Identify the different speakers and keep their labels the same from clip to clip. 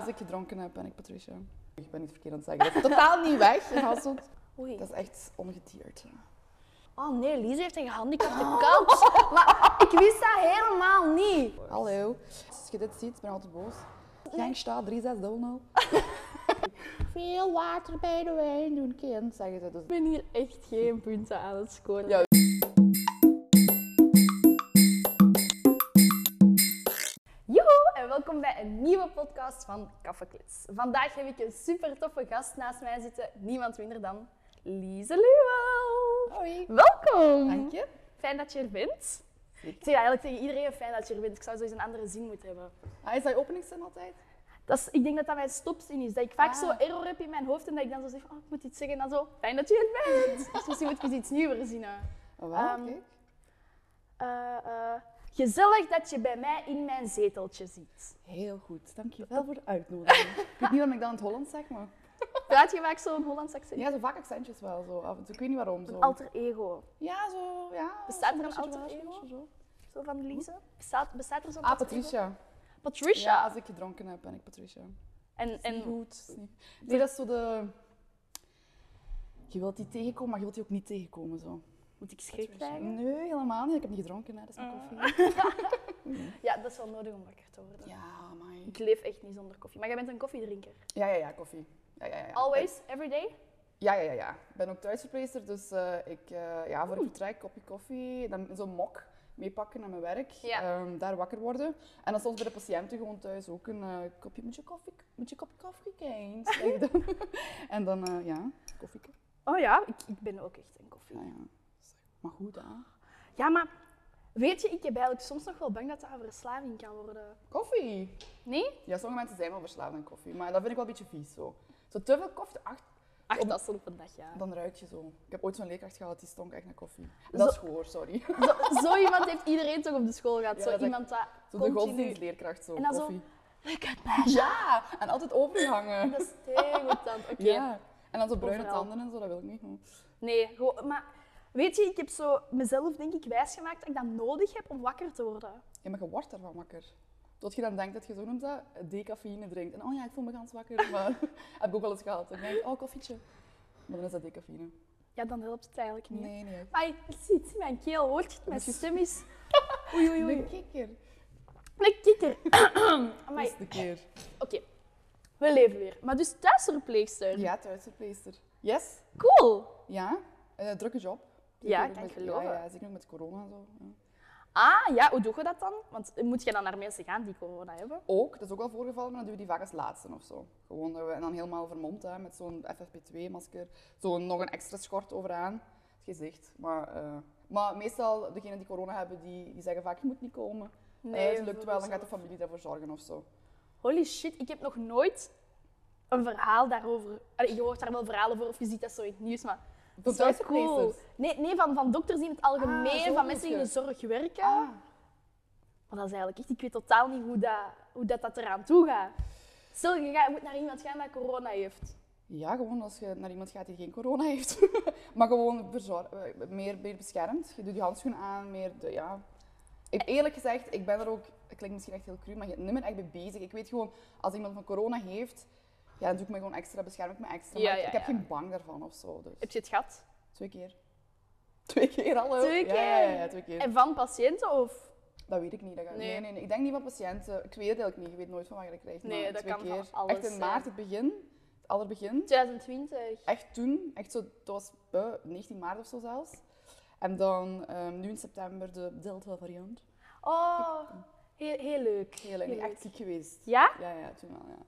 Speaker 1: Als ik gedronken heb, ben ik Patricia. Ik ben niet verkeerd aan het zeggen. Dat is totaal niet weg in Hasselt.
Speaker 2: Oei.
Speaker 1: Dat is echt ongedierte.
Speaker 2: Oh nee, Lise heeft een gehandicapte kat. Maar ik wist dat helemaal niet.
Speaker 1: Hallo. Als je dit ziet, ben ik altijd boos. Gangsta 3600. Veel water bij de wijn doen, kind, zeggen ze. Dus.
Speaker 2: Ik ben hier echt geen punten aan het scoren.
Speaker 1: Ja.
Speaker 2: Joehoe en welkom bij een nieuwe podcast van Kaffeklits. Vandaag heb ik een super toffe gast naast mij zitten. Niemand minder dan Lise Luwel.
Speaker 1: Hoi.
Speaker 2: Welkom.
Speaker 1: Dank je.
Speaker 2: Fijn dat je er bent. Ik zeg eigenlijk tegen iedereen fijn dat je er bent. Ik zou sowieso een andere zin moeten hebben.
Speaker 1: Ah, is dat je openingszin altijd?
Speaker 2: Dat is, ik denk dat dat mijn stopzin is. Dat ik vaak
Speaker 1: Ah.
Speaker 2: zo error heb in mijn hoofd en dat ik dan zo zeg, oh, ik moet iets zeggen en dan zo, fijn dat je er bent. dus misschien moet ik eens iets nieuws verzinnen.
Speaker 1: Oh, wel,
Speaker 2: Ehm,
Speaker 1: kijk.
Speaker 2: Eh, eh, gezellig dat je bij mij in mijn zeteltje zit.
Speaker 1: Heel goed. Dankjewel voor de uitnodiging. ik weet niet waarom ik dat in het Hollands zeg, maar...
Speaker 2: Praat je vaak zo'n Hollands accent?
Speaker 1: Ja, zo vaak accentjes wel, zo af en toe. Ik weet niet waarom, zo.
Speaker 2: Een alter ego.
Speaker 1: Ja, zo, ja.
Speaker 2: Bestaat er
Speaker 1: zo'n beetje
Speaker 2: een alter
Speaker 1: wel, zo'n
Speaker 2: ego?
Speaker 1: beetje zo.
Speaker 2: Zo van Lise. Bestaat, bestaat er zo'n
Speaker 1: Ah,
Speaker 2: alter ego?
Speaker 1: Patricia.
Speaker 2: Patricia.
Speaker 1: Ja, als ik gedronken heb, ben ik Patricia.
Speaker 2: En, en
Speaker 1: Goed. is niet- Nee, dat is zo de... Je wilt die tegenkomen, maar je wilt die ook niet tegenkomen, zo.
Speaker 2: moet ik schrik krijgen? Mm.
Speaker 1: Nee, helemaal niet. Ik heb niet gedronken, hè. dat is
Speaker 2: Ah.
Speaker 1: mijn koffie.
Speaker 2: Ja, dat is wel nodig om wakker te worden.
Speaker 1: Ja, maar.
Speaker 2: Ik leef echt niet zonder koffie. Maar jij bent een koffiedrinker.
Speaker 1: Ja, ja, ja, koffie. Ja, ja, ja, ja.
Speaker 2: Always, everyday.
Speaker 1: Ja, ja, ja, ja. Ik ben ook thuisverpleegster, dus eh, ik, eh, ja, voor ik vertrek, kopje koffie, dan in zo'n mok meepakken naar mijn werk,
Speaker 2: Ja.
Speaker 1: ehm, daar wakker worden. En dan soms bij de patiënten gewoon thuis ook een eh, kopje, moet je koffie, moet je kopje koffie, kind? Zeg ik dan. en dan, eh, ja, koffie.
Speaker 2: Oh ja, ik, ik ben ook echt een koffie.
Speaker 1: Ja, ja. Maar goed, hè.
Speaker 2: Ja, maar weet je, ik heb eigenlijk soms nog wel bang dat dat een verslaving kan worden.
Speaker 1: Koffie!
Speaker 2: Nee?
Speaker 1: Ja, sommige mensen zijn wel verslaafd aan koffie, maar dat vind ik wel een beetje vies zo. Zo te veel koffie, ach,
Speaker 2: Ach, dat is op een dag, ja.
Speaker 1: dan ruik je zo. Ik heb ooit zo'n leerkracht gehad, die stonk echt naar koffie.
Speaker 2: Zo-
Speaker 1: Dat is gehoor, sorry.
Speaker 2: Zo, zo iemand heeft iedereen toch op de school gehad.
Speaker 1: Ja,
Speaker 2: zo
Speaker 1: dat is
Speaker 2: iemand dat
Speaker 1: Zo de
Speaker 2: continu...
Speaker 1: godsdienstleerkracht zo,
Speaker 2: En dan zo,
Speaker 1: koffie.
Speaker 2: Look at that.
Speaker 1: Ja, en altijd overhangen.
Speaker 2: Dat is tegengoedtand. Oké.
Speaker 1: Ja. En dan zo bruine
Speaker 2: Overal.
Speaker 1: tanden en zo, dat wil ik niet. gewoon.
Speaker 2: Nee, gewoon... Maar weet je, ik heb zo mezelf denk ik wijsgemaakt dat ik dat nodig heb om wakker te worden.
Speaker 1: Ja, maar je wordt daarvan wakker. Tot je dan denkt dat je zo noemt dat, decafeïne drinkt. En oh ja, ik voel me gans wakker. Maar heb ik ook wel eens gehad. Dan denk ik, oh, koffietje. Maar dan is dat decafeïne.
Speaker 2: Ja, dan helpt het eigenlijk niet.
Speaker 1: Nee, nee.
Speaker 2: Maar ik zit in mijn keel, hoort je het? Mijn stem is... Oei, oei, oei.
Speaker 1: De kikker.
Speaker 2: Een kikker.
Speaker 1: Dat
Speaker 2: Amai.
Speaker 1: is de keer.
Speaker 2: Oké. We leven weer. Maar dus thuisverpleegster.
Speaker 1: Ja, thuisverpleegster. Yes?
Speaker 2: Cool.
Speaker 1: Ja? Eh, drukke job. Zeker
Speaker 2: Ja,
Speaker 1: ook
Speaker 2: ik kan
Speaker 1: met-
Speaker 2: geloven.
Speaker 1: Ja, ja, zeker ook met corona en zo. Ja.
Speaker 2: Ah, ja, hoe doe je dat dan? Want moet je dan naar mensen gaan die corona hebben?
Speaker 1: Ook, dat is ook wel voorgevallen, maar dan doen we die vaak als laatste of zo. Gewoon dat we, en dan helemaal vermomd hè, met zo'n FFP2-masker. Zo'n nog een extra schort overaan. Het gezicht. Maar, eh, maar meestal, degenen die corona hebben, die, die zeggen vaak: je moet niet komen.
Speaker 2: Nee,
Speaker 1: Nee, het lukt
Speaker 2: voor
Speaker 1: wel, dan gaat de
Speaker 2: mezelf.
Speaker 1: familie daarvoor zorgen of zo.
Speaker 2: Eh, Holy shit, ik heb nog nooit een verhaal daarover. Allee, je hoort daar wel verhalen over of je ziet dat zo in het nieuws, maar.
Speaker 1: Van
Speaker 2: dat is wel
Speaker 1: thuisverpleegsters?
Speaker 2: Nee, nee van, van dokters in het algemeen,
Speaker 1: dus- Ah, zo
Speaker 2: van mensen die in de
Speaker 1: bedoel
Speaker 2: zorg werken.
Speaker 1: Ah,
Speaker 2: Maar dat is eigenlijk echt, ik weet totaal niet hoe dat, hoe dat, dat eraan toe gaat. Stel, je gaat- je moet naar iemand gaan dat corona heeft.
Speaker 1: ja, gewoon als je naar iemand gaat die geen corona heeft. maar gewoon verzor- eh, meer, meer beschermd. Je doet je handschoen aan, meer de, ja. Ik, eerlijk gezegd, ik ben er ook, het klinkt misschien echt heel cru, maar je bent niet meer echt mee bezig. Ik weet gewoon, als iemand van corona heeft, ja, dan doe ik me gewoon extra, bescherm ik me extra.
Speaker 2: Ja,
Speaker 1: maar ik,
Speaker 2: ja,
Speaker 1: ik heb
Speaker 2: ja.
Speaker 1: geen bang daarvan of zo. Dus.
Speaker 2: Heb je het gehad?
Speaker 1: Twee keer. Twee keer, hallo.
Speaker 2: Twee
Speaker 1: Ja, ja, ja,
Speaker 2: keer.
Speaker 1: ja, twee keer.
Speaker 2: En van patiënten of?
Speaker 1: Dat weet ik niet. Dat ga...
Speaker 2: Nee.
Speaker 1: nee. Nee, nee, Ik denk niet van patiënten. Ik weet het eigenlijk niet. Je weet nooit van wat je krijgt.
Speaker 2: Nee,
Speaker 1: maar
Speaker 2: dat
Speaker 1: twee
Speaker 2: kan van
Speaker 1: keer.
Speaker 2: alles
Speaker 1: Echt in
Speaker 2: zijn.
Speaker 1: maart, het begin. Het allerbegin.
Speaker 2: 2020.
Speaker 1: Echt toen. Echt zo, dat was eh, 19 maart of zo zelfs. En dan ehm, nu in september de Delta variant.
Speaker 2: Oh, heel, heel leuk.
Speaker 1: Heel erg.
Speaker 2: leuk.
Speaker 1: Echt ziek geweest.
Speaker 2: Ja?
Speaker 1: Ja, ja, toen wel, ja.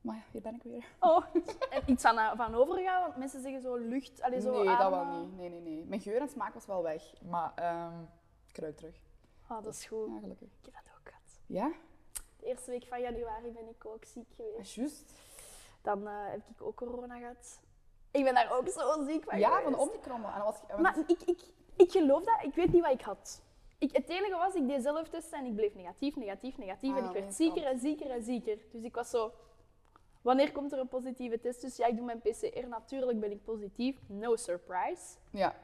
Speaker 1: Maar ja, hier ben ik weer.
Speaker 2: Oh, en iets van, van overgaan, want mensen zeggen zo lucht, allee, zo
Speaker 1: nee, dat wel
Speaker 2: ademen.
Speaker 1: niet. Nee, nee, nee. Mijn geur en smaak was wel weg. Maar ehm kruid terug.
Speaker 2: Ah, dat is goed.
Speaker 1: Ja, gelukkig.
Speaker 2: Ik heb dat ook gehad.
Speaker 1: Ja? Ah,
Speaker 2: De eerste week van januari ben ik ook ziek geweest.
Speaker 1: Juist.
Speaker 2: Dan eh, heb ik ook corona gehad. Ik ben daar ook zo ziek van
Speaker 1: Ja,
Speaker 2: geweest.
Speaker 1: van de omikron. wel. En dat was...
Speaker 2: Maar ik, ik, ik geloof dat, ik weet niet wat ik had. Ik, het enige was, ik deed zelf testen en ik bleef negatief, negatief, negatief.
Speaker 1: Ah,
Speaker 2: en ik werd
Speaker 1: mens,
Speaker 2: zieker en zieker en zieker. Dus ik was zo, wanneer komt er een positieve test? Dus ja, ik doe mijn PCR, natuurlijk ben ik positief. No surprise.
Speaker 1: Ja.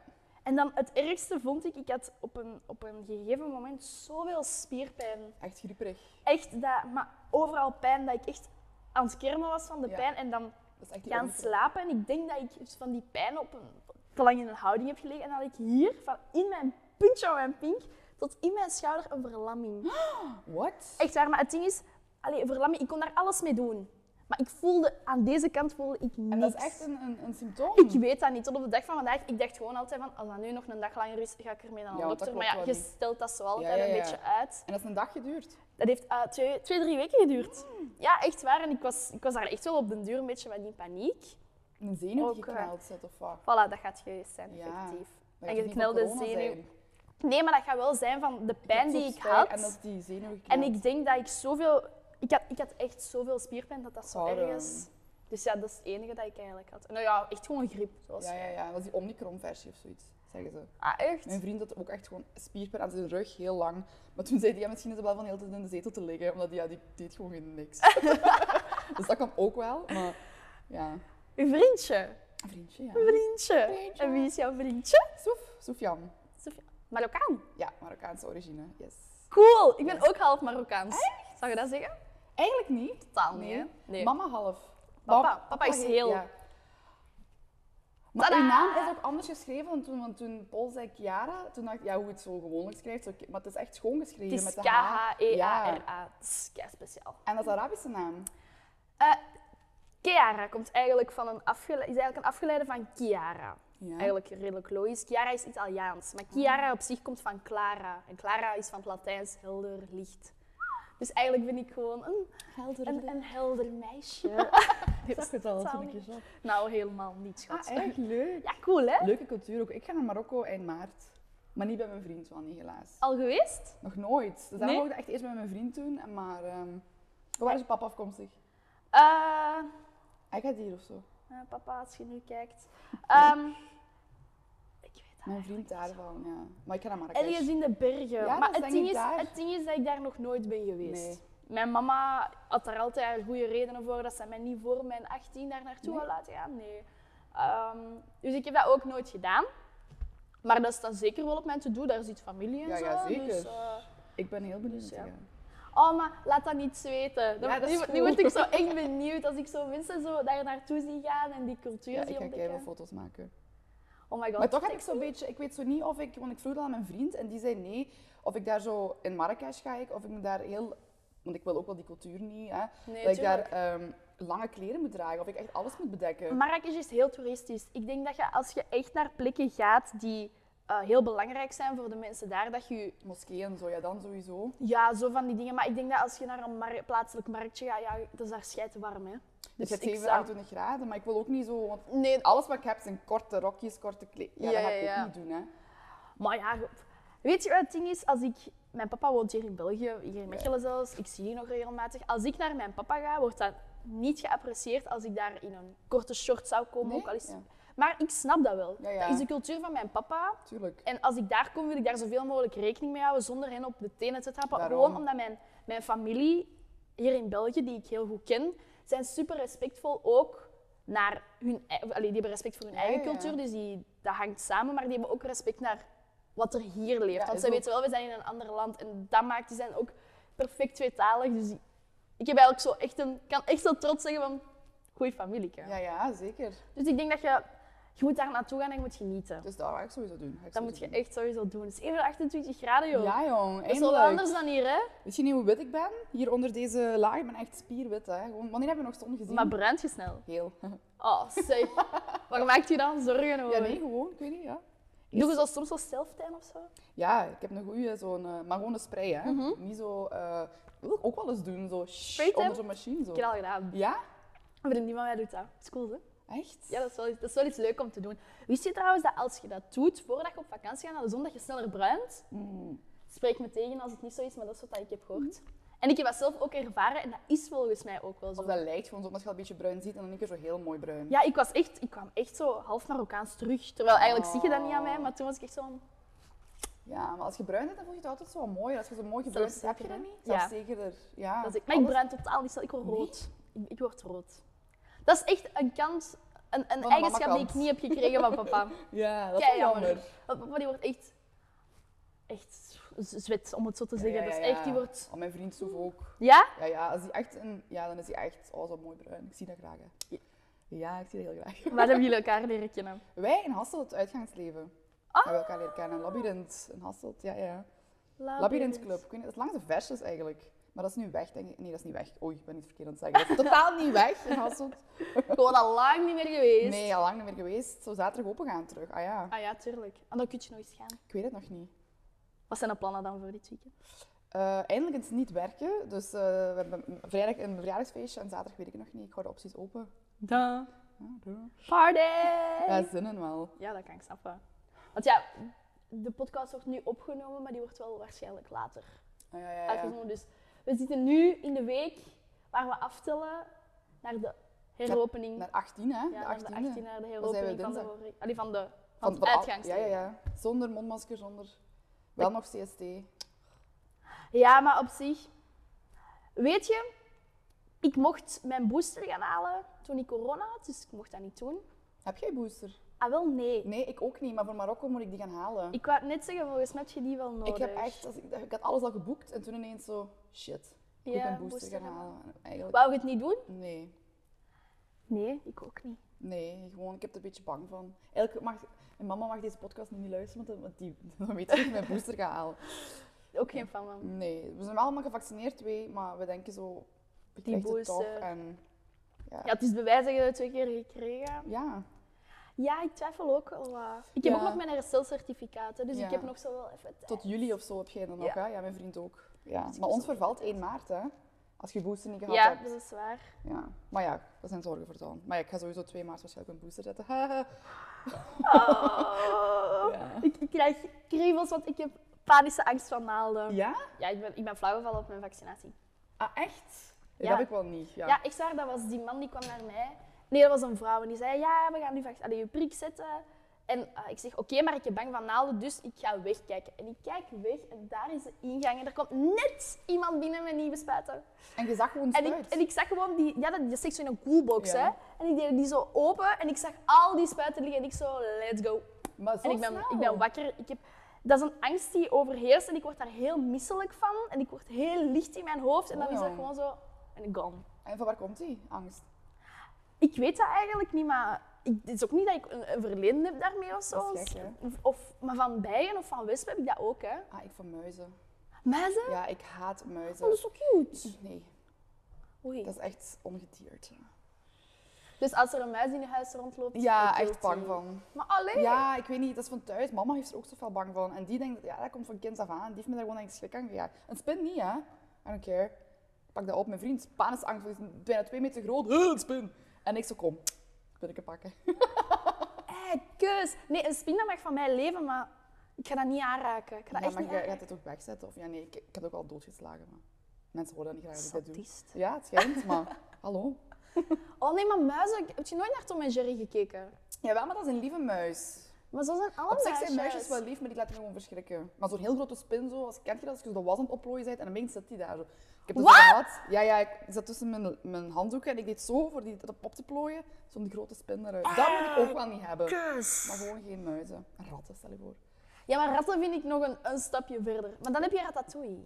Speaker 2: En dan het ergste vond ik, ik had op een, op een gegeven moment zoveel spierpijn.
Speaker 1: Echt grieperig.
Speaker 2: Echt, dat, maar overal pijn dat ik echt aan het kermen was van de
Speaker 1: Ja.
Speaker 2: pijn en dan
Speaker 1: Dat is echt die
Speaker 2: gaan
Speaker 1: overgang.
Speaker 2: slapen. En ik denk dat ik dus van die pijn op een, te lang in een houding heb gelegen. En dat ik hier, van in mijn puntje van mijn pink, tot in mijn schouder een verlamming.
Speaker 1: What?
Speaker 2: Echt waar, maar het ding is, allee, verlamming, ik kon daar alles mee doen. Maar ik voelde, aan deze kant voelde ik niks.
Speaker 1: En dat is echt een, een, een symptoom.
Speaker 2: Ik weet dat niet. Tot op de dag van vandaag, ik dacht gewoon altijd van, als dat nu nog een dag langer is, ga ik ermee naar
Speaker 1: Ja,
Speaker 2: de
Speaker 1: want dat
Speaker 2: dokter. Maar
Speaker 1: klopt
Speaker 2: ja, je
Speaker 1: wel niet.
Speaker 2: stelt dat zo altijd
Speaker 1: Ja, ja,
Speaker 2: een
Speaker 1: ja.
Speaker 2: beetje uit.
Speaker 1: En dat is een dag geduurd.
Speaker 2: Dat heeft eh, twee, twee, drie weken geduurd.
Speaker 1: Mm.
Speaker 2: Ja, echt waar. En ik was, ik was daar echt wel op den duur een beetje wat in paniek.
Speaker 1: Een zenuw
Speaker 2: Ook,
Speaker 1: die gekneld zit of wat.
Speaker 2: Voilà, dat gaat geweest zijn,
Speaker 1: Ja.
Speaker 2: effectief.
Speaker 1: Dat
Speaker 2: En
Speaker 1: gaat
Speaker 2: je
Speaker 1: niet van
Speaker 2: knelde
Speaker 1: corona
Speaker 2: zenuw.
Speaker 1: zijn.
Speaker 2: Nee, maar dat gaat wel zijn van de pijn
Speaker 1: Ik heb
Speaker 2: die ik
Speaker 1: zo'n
Speaker 2: had.
Speaker 1: pijn En dat is die zenuw gekneld.
Speaker 2: En ik denk dat ik zoveel... Ik had, ik had echt zoveel spierpijn dat dat zo
Speaker 1: Waarom?
Speaker 2: erg is. Dus ja, dat is het enige dat ik eigenlijk had. Nou ja, echt gewoon griep. Zoals
Speaker 1: Ja, ja, ja. Dat is die Omicron-versie of zoiets, zeggen ze.
Speaker 2: Ah, echt?
Speaker 1: Mijn vriend had ook echt gewoon spierpijn aan zijn rug, heel lang. Maar toen zei hij, ja, misschien is het wel van de hele tijd in de zetel te liggen, omdat ja, die deed gewoon geen niks. dus dat kan ook wel, maar ja.
Speaker 2: Uw vriendje.
Speaker 1: Een vriendje, ja.
Speaker 2: Een vriendje.
Speaker 1: Vriendje.
Speaker 2: En wie is jouw vriendje?
Speaker 1: Soef, Sofian.
Speaker 2: Sophia. Marokkaan.
Speaker 1: Ja, Marokkaanse origine, yes.
Speaker 2: Cool. Ik ben ook half Marokkaans. Zou je dat zeggen?
Speaker 1: Eigenlijk niet.
Speaker 2: Totaal niet, hè? Nee.
Speaker 1: Mama half.
Speaker 2: Papa.
Speaker 1: Pap-
Speaker 2: Papa is
Speaker 1: heet-
Speaker 2: heel-
Speaker 1: Maar
Speaker 2: Tadaa!
Speaker 1: uw naam is ook anders geschreven dan toen, want toen Paul zei Chiara, toen dacht ik, ja, hoe het zo gewoonlijk schrijft, zo- maar het is echt schoon geschreven
Speaker 2: Het is E
Speaker 1: met de H. Ja.
Speaker 2: K-H-E-A-R-A. Het is kei speciaal.
Speaker 1: En dat is Arabische naam.
Speaker 2: Eh Kiara komt eigenlijk van een afgele- is eigenlijk een afgeleide van Chiara.
Speaker 1: Ja.
Speaker 2: Eigenlijk redelijk logisch. Chiara is Italiaans, maar Chiara op zich komt van Clara. En Clara is van het Latijns helder, licht. Dus eigenlijk ben ik gewoon een,
Speaker 1: Helder.
Speaker 2: een, een helder meisje.
Speaker 1: Ik zag het al toen ik je zag.
Speaker 2: nou, helemaal niet, schat.
Speaker 1: Ah, echt leuk.
Speaker 2: ja, cool hè?
Speaker 1: Leuke cultuur ook. Ik ga naar Marokko eind maart. Maar niet bij mijn vriend, wel niet helaas.
Speaker 2: Al geweest?
Speaker 1: Nog nooit. Dus daarom
Speaker 2: Oh. Nee?
Speaker 1: wou ik dat echt eerst bij mijn vriend doen. Maar ehm waar is je papa afkomstig?
Speaker 2: Eh,
Speaker 1: Hij gaat hier of zo.
Speaker 2: eh, papa, als je nu kijkt. Ehm, ik weet dat
Speaker 1: Mijn vriend daarvan, ja. Maar ik ga naar Marrakesh.
Speaker 2: Ergens in de bergen.
Speaker 1: Ja,
Speaker 2: maar
Speaker 1: dat is
Speaker 2: het
Speaker 1: denk
Speaker 2: ding,
Speaker 1: ik
Speaker 2: is,
Speaker 1: daar.
Speaker 2: het ding is dat ik daar nog nooit ben geweest.
Speaker 1: Nee.
Speaker 2: Mijn mama had daar altijd goede redenen voor dat ze mij niet voor mijn 18 daar naartoe
Speaker 1: Nee?
Speaker 2: wou laten gaan. Nee. Ehm, dus ik heb dat ook nooit gedaan. Maar dat staat zeker wel op mijn to-do. Daar zit familie en
Speaker 1: Ja,
Speaker 2: zo.
Speaker 1: ja,
Speaker 2: Dus,
Speaker 1: zeker.
Speaker 2: eh,
Speaker 1: Ik ben heel benieuwd.
Speaker 2: Dus
Speaker 1: te
Speaker 2: ja.
Speaker 1: gaan.
Speaker 2: oh, maar laat dat niet zweten. Dan-
Speaker 1: Ja, dat
Speaker 2: nu,
Speaker 1: is
Speaker 2: nu
Speaker 1: cool.
Speaker 2: word ik zo echt benieuwd als ik zo mensen zo daar naartoe zie gaan en die cultuur
Speaker 1: Ja, ik
Speaker 2: zie
Speaker 1: ga
Speaker 2: ontdekken.
Speaker 1: keihard foto's maken.
Speaker 2: Oh my god.
Speaker 1: Maar toch heb ik zo'n beetje, ik weet zo niet of ik, want ik vroeg dat aan mijn vriend en die zei nee, of ik daar zo in Marrakesh ga ik, of ik me daar heel, want ik wil ook wel die cultuur niet, hè,
Speaker 2: Nee,
Speaker 1: dat ik
Speaker 2: tuurlijk.
Speaker 1: daar ehm, lange kleren moet dragen, of ik echt alles moet bedekken.
Speaker 2: Marrakesh is heel toeristisch. Ik denk dat je als je echt naar plekken gaat die eh, heel belangrijk zijn voor de mensen daar, dat je
Speaker 1: Moskee en zo, ja dan sowieso. Dus
Speaker 2: ja, zo van die dingen. Maar ik denk dat als je naar een mar- plaatselijk marktje gaat, ja, dat is daar schijt warm. Hè?
Speaker 1: Dus
Speaker 2: Dus
Speaker 1: het
Speaker 2: ik
Speaker 1: 7,
Speaker 2: zou-
Speaker 1: 28 graden, maar ik wil ook niet zo, want
Speaker 2: Nee, ah,
Speaker 1: alles wat ik heb zijn korte rokjes, korte kleden. Ja,
Speaker 2: Ja,
Speaker 1: dat ga ik
Speaker 2: ja, ja.
Speaker 1: ook niet doen, hè.
Speaker 2: maar ja, je- weet je wat het ding is? Als ik, mijn papa woont hier in België, hier in Mechelen zelfs, ik zie die nog regelmatig. Als ik naar mijn papa ga, wordt dat niet geapprecieerd als ik daar in een korte short zou komen.
Speaker 1: Nee?
Speaker 2: Ook al is...
Speaker 1: Ja.
Speaker 2: Maar ik snap dat wel.
Speaker 1: Ja, ja.
Speaker 2: Dat is de cultuur van mijn papa.
Speaker 1: Tuurlijk.
Speaker 2: En als ik daar kom, wil ik daar zoveel mogelijk rekening mee houden zonder hen op de tenen te trappen.
Speaker 1: Daarom.
Speaker 2: Gewoon omdat mijn, mijn familie hier in België, die ik heel goed ken, zijn super respectvol ook naar hun... ei- Allee, die hebben respect voor hun
Speaker 1: Ja,
Speaker 2: eigen
Speaker 1: Ah, ja, ja.
Speaker 2: cultuur, dus die, dat hangt samen. Maar die hebben ook respect naar wat er hier leeft.
Speaker 1: Ja,
Speaker 2: Want
Speaker 1: is
Speaker 2: ze
Speaker 1: ook-
Speaker 2: weten wel, we zijn in een ander land. En dat maakt, die zijn ook perfect tweetalig. Dus die- ik heb eigenlijk zo echt een... kan echt zo trots zeggen van... Goeie familie, hè.
Speaker 1: Ja, ja, zeker.
Speaker 2: Dus ik denk dat je... Je moet daar naartoe gaan en je moet genieten.
Speaker 1: Dus dat ga ik sowieso doen. Ga ik
Speaker 2: Dat
Speaker 1: sowieso
Speaker 2: moet je
Speaker 1: doen.
Speaker 2: echt sowieso doen. Het is even 28 graden, joh.
Speaker 1: Ja, jong.
Speaker 2: dat is wel wat
Speaker 1: eindelijk.
Speaker 2: anders dan hier, hè?
Speaker 1: Weet je niet hoe wit ik ben? Hier onder deze laag, ik ben echt spierwit. Hè. Gewoon, wanneer hebben we nog zon gezien?
Speaker 2: Maar bruint je snel.
Speaker 1: Heel.
Speaker 2: Oh, zeg. Waar maakt je dan zorgen over?
Speaker 1: Ja, nee, gewoon, ik weet niet, ja.
Speaker 2: Doe je zo soms wel self-time of zo?
Speaker 1: Ja, ik heb een goede zo'n, eh, maar gewoon een spray, hè. Niet zo, eh, wil ik ook wel eens doen, zo shh,
Speaker 2: Mhm. Spray tan?
Speaker 1: onder zo'n machine, zo.
Speaker 2: Ik heb dat al gedaan.
Speaker 1: Ja?
Speaker 2: Een vriendin van mij doet dat. Dat is cool, hè?
Speaker 1: Echt?
Speaker 2: Ja, dat is, wel, iets- dat is wel iets leuk om te doen. Wist je trouwens dat als je dat doet, voordat je op vakantie gaat naar de zon, dat je sneller bruint?
Speaker 1: Mm.
Speaker 2: Spreek me tegen als het niet zo is, maar dat is wat ik heb gehoord. En ik heb dat zelf ook ervaren en dat is volgens mij ook wel zo.
Speaker 1: Of dat lijkt gewoon zo, omdat je al een beetje bruin ziet en dan een keer zo heel mooi bruin.
Speaker 2: Ja, ik, was echt, ik kwam echt zo half Marokkaans terug. Terwijl eigenlijk zie je dat niet aan mij,
Speaker 1: Oh.
Speaker 2: maar toen was ik echt zo van...
Speaker 1: Ja, maar als je bruin bent, dan voel je het altijd zo mooi. Als je zo mooi gebruind bent, heb je dat niet?
Speaker 2: Zelfzekerder, hè? Ja.
Speaker 1: Zelfzekerder. Ja.
Speaker 2: Dat is- maar ik
Speaker 1: Alles-
Speaker 2: bruin totaal niet snel. Ik word rood. Ik, ik word rood. Dat is echt een kans, een, een
Speaker 1: de
Speaker 2: eigenschap die
Speaker 1: mamakant.
Speaker 2: ik niet heb gekregen van papa.
Speaker 1: Ja, dat is wel
Speaker 2: Kei
Speaker 1: jammer.
Speaker 2: Want papa die wordt echt, echt z- zwet, om het zo te
Speaker 1: Ja,
Speaker 2: zeggen.
Speaker 1: ja,
Speaker 2: Dat
Speaker 1: ja,
Speaker 2: is echt,
Speaker 1: ja.
Speaker 2: die wordt...
Speaker 1: Oh, mijn vriend stof ook.
Speaker 2: Ja?
Speaker 1: Ja, ja, als die echt een, ja, dan is hij echt oh, zo mooi bruin. Ik zie dat graag. Hè. Ja, ik zie dat heel graag.
Speaker 2: Waar hebben jullie elkaar leren kennen?
Speaker 1: Wij in Hasselt, het uitgangsleven.
Speaker 2: Ah.
Speaker 1: Hebben we elkaar leren kennen. Labyrinth in Hasselt, ja, ja. Labyrinth Club. Ik weet niet, dat is langs de versjes eigenlijk. Maar dat is nu weg, denk ik. Nee, dat is niet weg. Oei, ik ben niet verkeerd aan het zeggen. Dat is totaal niet weg in Hasselt.
Speaker 2: Gewoon al lang niet meer geweest.
Speaker 1: Nee, al lang niet meer geweest. Zo zaterdag open gaan terug. Ah ja,
Speaker 2: Ah ja, tuurlijk. En dan kun je nog eens gaan.
Speaker 1: ik weet het nog niet.
Speaker 2: Wat zijn de plannen dan voor dit weekend?
Speaker 1: Eh, eindelijk eens niet werken. Dus eh, we hebben vrijdag een verjaardagsfeestje en zaterdag weet ik nog niet. Ik hou de opties open.
Speaker 2: Da.
Speaker 1: Ja, doe.
Speaker 2: Party!
Speaker 1: Ja, zin in wel.
Speaker 2: Ja, dat kan ik snappen. Want ja, de podcast wordt nu opgenomen, maar die wordt wel waarschijnlijk later
Speaker 1: Ah, ja, ja, ja.
Speaker 2: uitgezonden. Dus we zitten nu in de week waar we aftellen naar de heropening.
Speaker 1: Naar 18, hè?
Speaker 2: ja,
Speaker 1: de
Speaker 2: naar
Speaker 1: 18e.
Speaker 2: de 18 naar de
Speaker 1: zijn
Speaker 2: heropening
Speaker 1: we
Speaker 2: van de,
Speaker 1: dinsdag?
Speaker 2: vorige- allee, van de van
Speaker 1: Van-
Speaker 2: het
Speaker 1: van al-
Speaker 2: uitgangsleven.
Speaker 1: Ja, ja, ja. Zonder mondmasker, zonder... Wel nog CST.
Speaker 2: Ja, maar op zich. Weet je, ik mocht mijn booster gaan halen toen ik corona had, dus ik mocht dat niet doen.
Speaker 1: Heb jij booster?
Speaker 2: Ah, wel nee.
Speaker 1: Nee, ik ook niet. Maar voor Marokko moet ik die gaan halen.
Speaker 2: Ik wou het net zeggen, volgens mij heb je die wel nodig.
Speaker 1: Ik heb echt... Als ik, ik had alles al geboekt en toen ineens zo... Shit. Ik moet
Speaker 2: Ja,
Speaker 1: mijn booster,
Speaker 2: booster
Speaker 1: gaan halen. En Eigenlijk...
Speaker 2: Wou je het niet doen?
Speaker 1: Nee.
Speaker 2: Nee, ik ook niet.
Speaker 1: Nee, gewoon, ik heb er een beetje bang van. Eigenlijk mag... Mijn mama mag deze podcast nu niet luisteren, want dan- want die, dan weet ik dat ik mijn booster ga halen.
Speaker 2: Ook geen fan van.
Speaker 1: Nee, we zijn wel allemaal gevaccineerd, twee, maar we denken zo... Ik
Speaker 2: Die
Speaker 1: krijg het toch
Speaker 2: booster.
Speaker 1: en...
Speaker 2: Ja, het is bewijs dat je het twee keer gekregen.
Speaker 1: Ja.
Speaker 2: Ja, ik twijfel ook wel wat. Ik heb
Speaker 1: Ja.
Speaker 2: ook nog mijn herstelcertificaten, dus
Speaker 1: Ja.
Speaker 2: ik heb nog zo wel even tijd.
Speaker 1: Tot juli of zo heb jij dan nog,
Speaker 2: Ja.
Speaker 1: hè? Ja, mijn vriend ook. Ja.
Speaker 2: Dus ik
Speaker 1: Maar
Speaker 2: heb
Speaker 1: ons
Speaker 2: zo-
Speaker 1: vervalt 1 maart, hè? Als je booster niet gehad
Speaker 2: Ja,
Speaker 1: hebt.
Speaker 2: dat is waar.
Speaker 1: Ja. Maar ja, dat zijn zorgen voor dan. Maar ja, ik ga sowieso 2 maart waarschijnlijk een booster zetten. Haha.
Speaker 2: Oh. ik, ik krijg kriebels, want ik heb panische angst van naalden.
Speaker 1: ja?
Speaker 2: Ja, ik ben, ik ben flauw gevallen op mijn vaccinatie.
Speaker 1: Ah, echt?
Speaker 2: Ja.
Speaker 1: Ja. Dat heb ik wel niet. Ja.
Speaker 2: Ja, ik zag dat was die man die kwam naar mij. Nee, dat was een vrouw en die zei: Ja, we gaan nu vac- allee, je prik zetten. En ah, ik zeg: Oké, maar ik ben bang van naalden, dus ik ga wegkijken. En ik kijk weg en daar is de ingang en er komt net iemand binnen met nieuwe spuiten.
Speaker 1: En je zag gewoon
Speaker 2: En
Speaker 1: spuit.
Speaker 2: ik, en ik zag gewoon die, ja, dat, dat steekt zo in een coolbox,
Speaker 1: Ja.
Speaker 2: hè? En ik deed die zo open en ik zag al die spuiten liggen en ik zo, let's go.
Speaker 1: Maar zo
Speaker 2: en ik ben,
Speaker 1: snel.
Speaker 2: ik ben wakker. Ik heb, dat is een angst die overheerst en ik word daar heel misselijk van. En ik word heel licht in mijn hoofd en dan
Speaker 1: Oh,
Speaker 2: is dat
Speaker 1: ja.
Speaker 2: gewoon zo, en gone.
Speaker 1: En van waar komt die angst?
Speaker 2: Ik weet dat eigenlijk niet, maar ik, het is ook niet dat ik een, een verleden heb daarmee of zo.
Speaker 1: Dat is gek, hè?
Speaker 2: Of- of, maar van bijen of van wespen heb ik dat ook, hè.
Speaker 1: Ah, ik van muizen.
Speaker 2: Muizen?
Speaker 1: Ja, ik haat
Speaker 2: Oh, dat
Speaker 1: muizen.
Speaker 2: is zo cute.
Speaker 1: Nee,
Speaker 2: Oei.
Speaker 1: dat is echt ongedierte.
Speaker 2: Dus als er een muis in je huis rondloopt...
Speaker 1: Ja,
Speaker 2: ik wil
Speaker 1: echt bang
Speaker 2: die.
Speaker 1: van.
Speaker 2: Maar alleen?
Speaker 1: Ja, ik weet niet, dat is van thuis. Mama heeft er ook zoveel bang van. En die denkt, ja, dat komt van kind af aan. Die heeft me daar gewoon aan schrik aan gejaagd. Een spin niet, hè? I don't care. Ik pak dat op, mijn vriend. Panisangst, is bijna twee meter groot. Huh, een spin. En ik zo, kom, spinnetje pakken.
Speaker 2: Hey, kus. Nee, een spin dat mag van mij leven, maar ik ga dat niet aanraken. Ik ga dat
Speaker 1: Ja,
Speaker 2: echt
Speaker 1: maar
Speaker 2: niet
Speaker 1: je je
Speaker 2: aanraken.
Speaker 1: gaat het ook wegzetten. Of ja, nee, ik, ik heb het ook al doodgeslagen. Maar mensen horen dat niet graag dat ik dat doe.
Speaker 2: Sadist.
Speaker 1: Ja, het schijnt, maar hallo.
Speaker 2: Oh nee, maar muizen... Heb je nooit naar Tom en Jerry gekeken?
Speaker 1: Jawel, maar dat is een lieve muis.
Speaker 2: Maar zo zijn alle
Speaker 1: Op zich
Speaker 2: muisjes.
Speaker 1: zijn muisjes wel lief, maar die laten me gewoon verschrikken. Maar zo'n heel grote spin, zo, als, kent je dat als je zo was aan het oplooien bent en ineens zit die daar zo. Ik heb dat zo
Speaker 2: Wat?
Speaker 1: gehad. Ja, ja, ik zat tussen mijn, mijn handdoeken en ik deed zo voor die dat op te plooien, zo'n grote spin eruit. Dat moet ik ook wel niet hebben. Maar gewoon geen muizen. En ratten, stel je voor.
Speaker 2: Ja, maar ratten vind ik nog een, een stapje verder. Maar dan heb je ratatouille.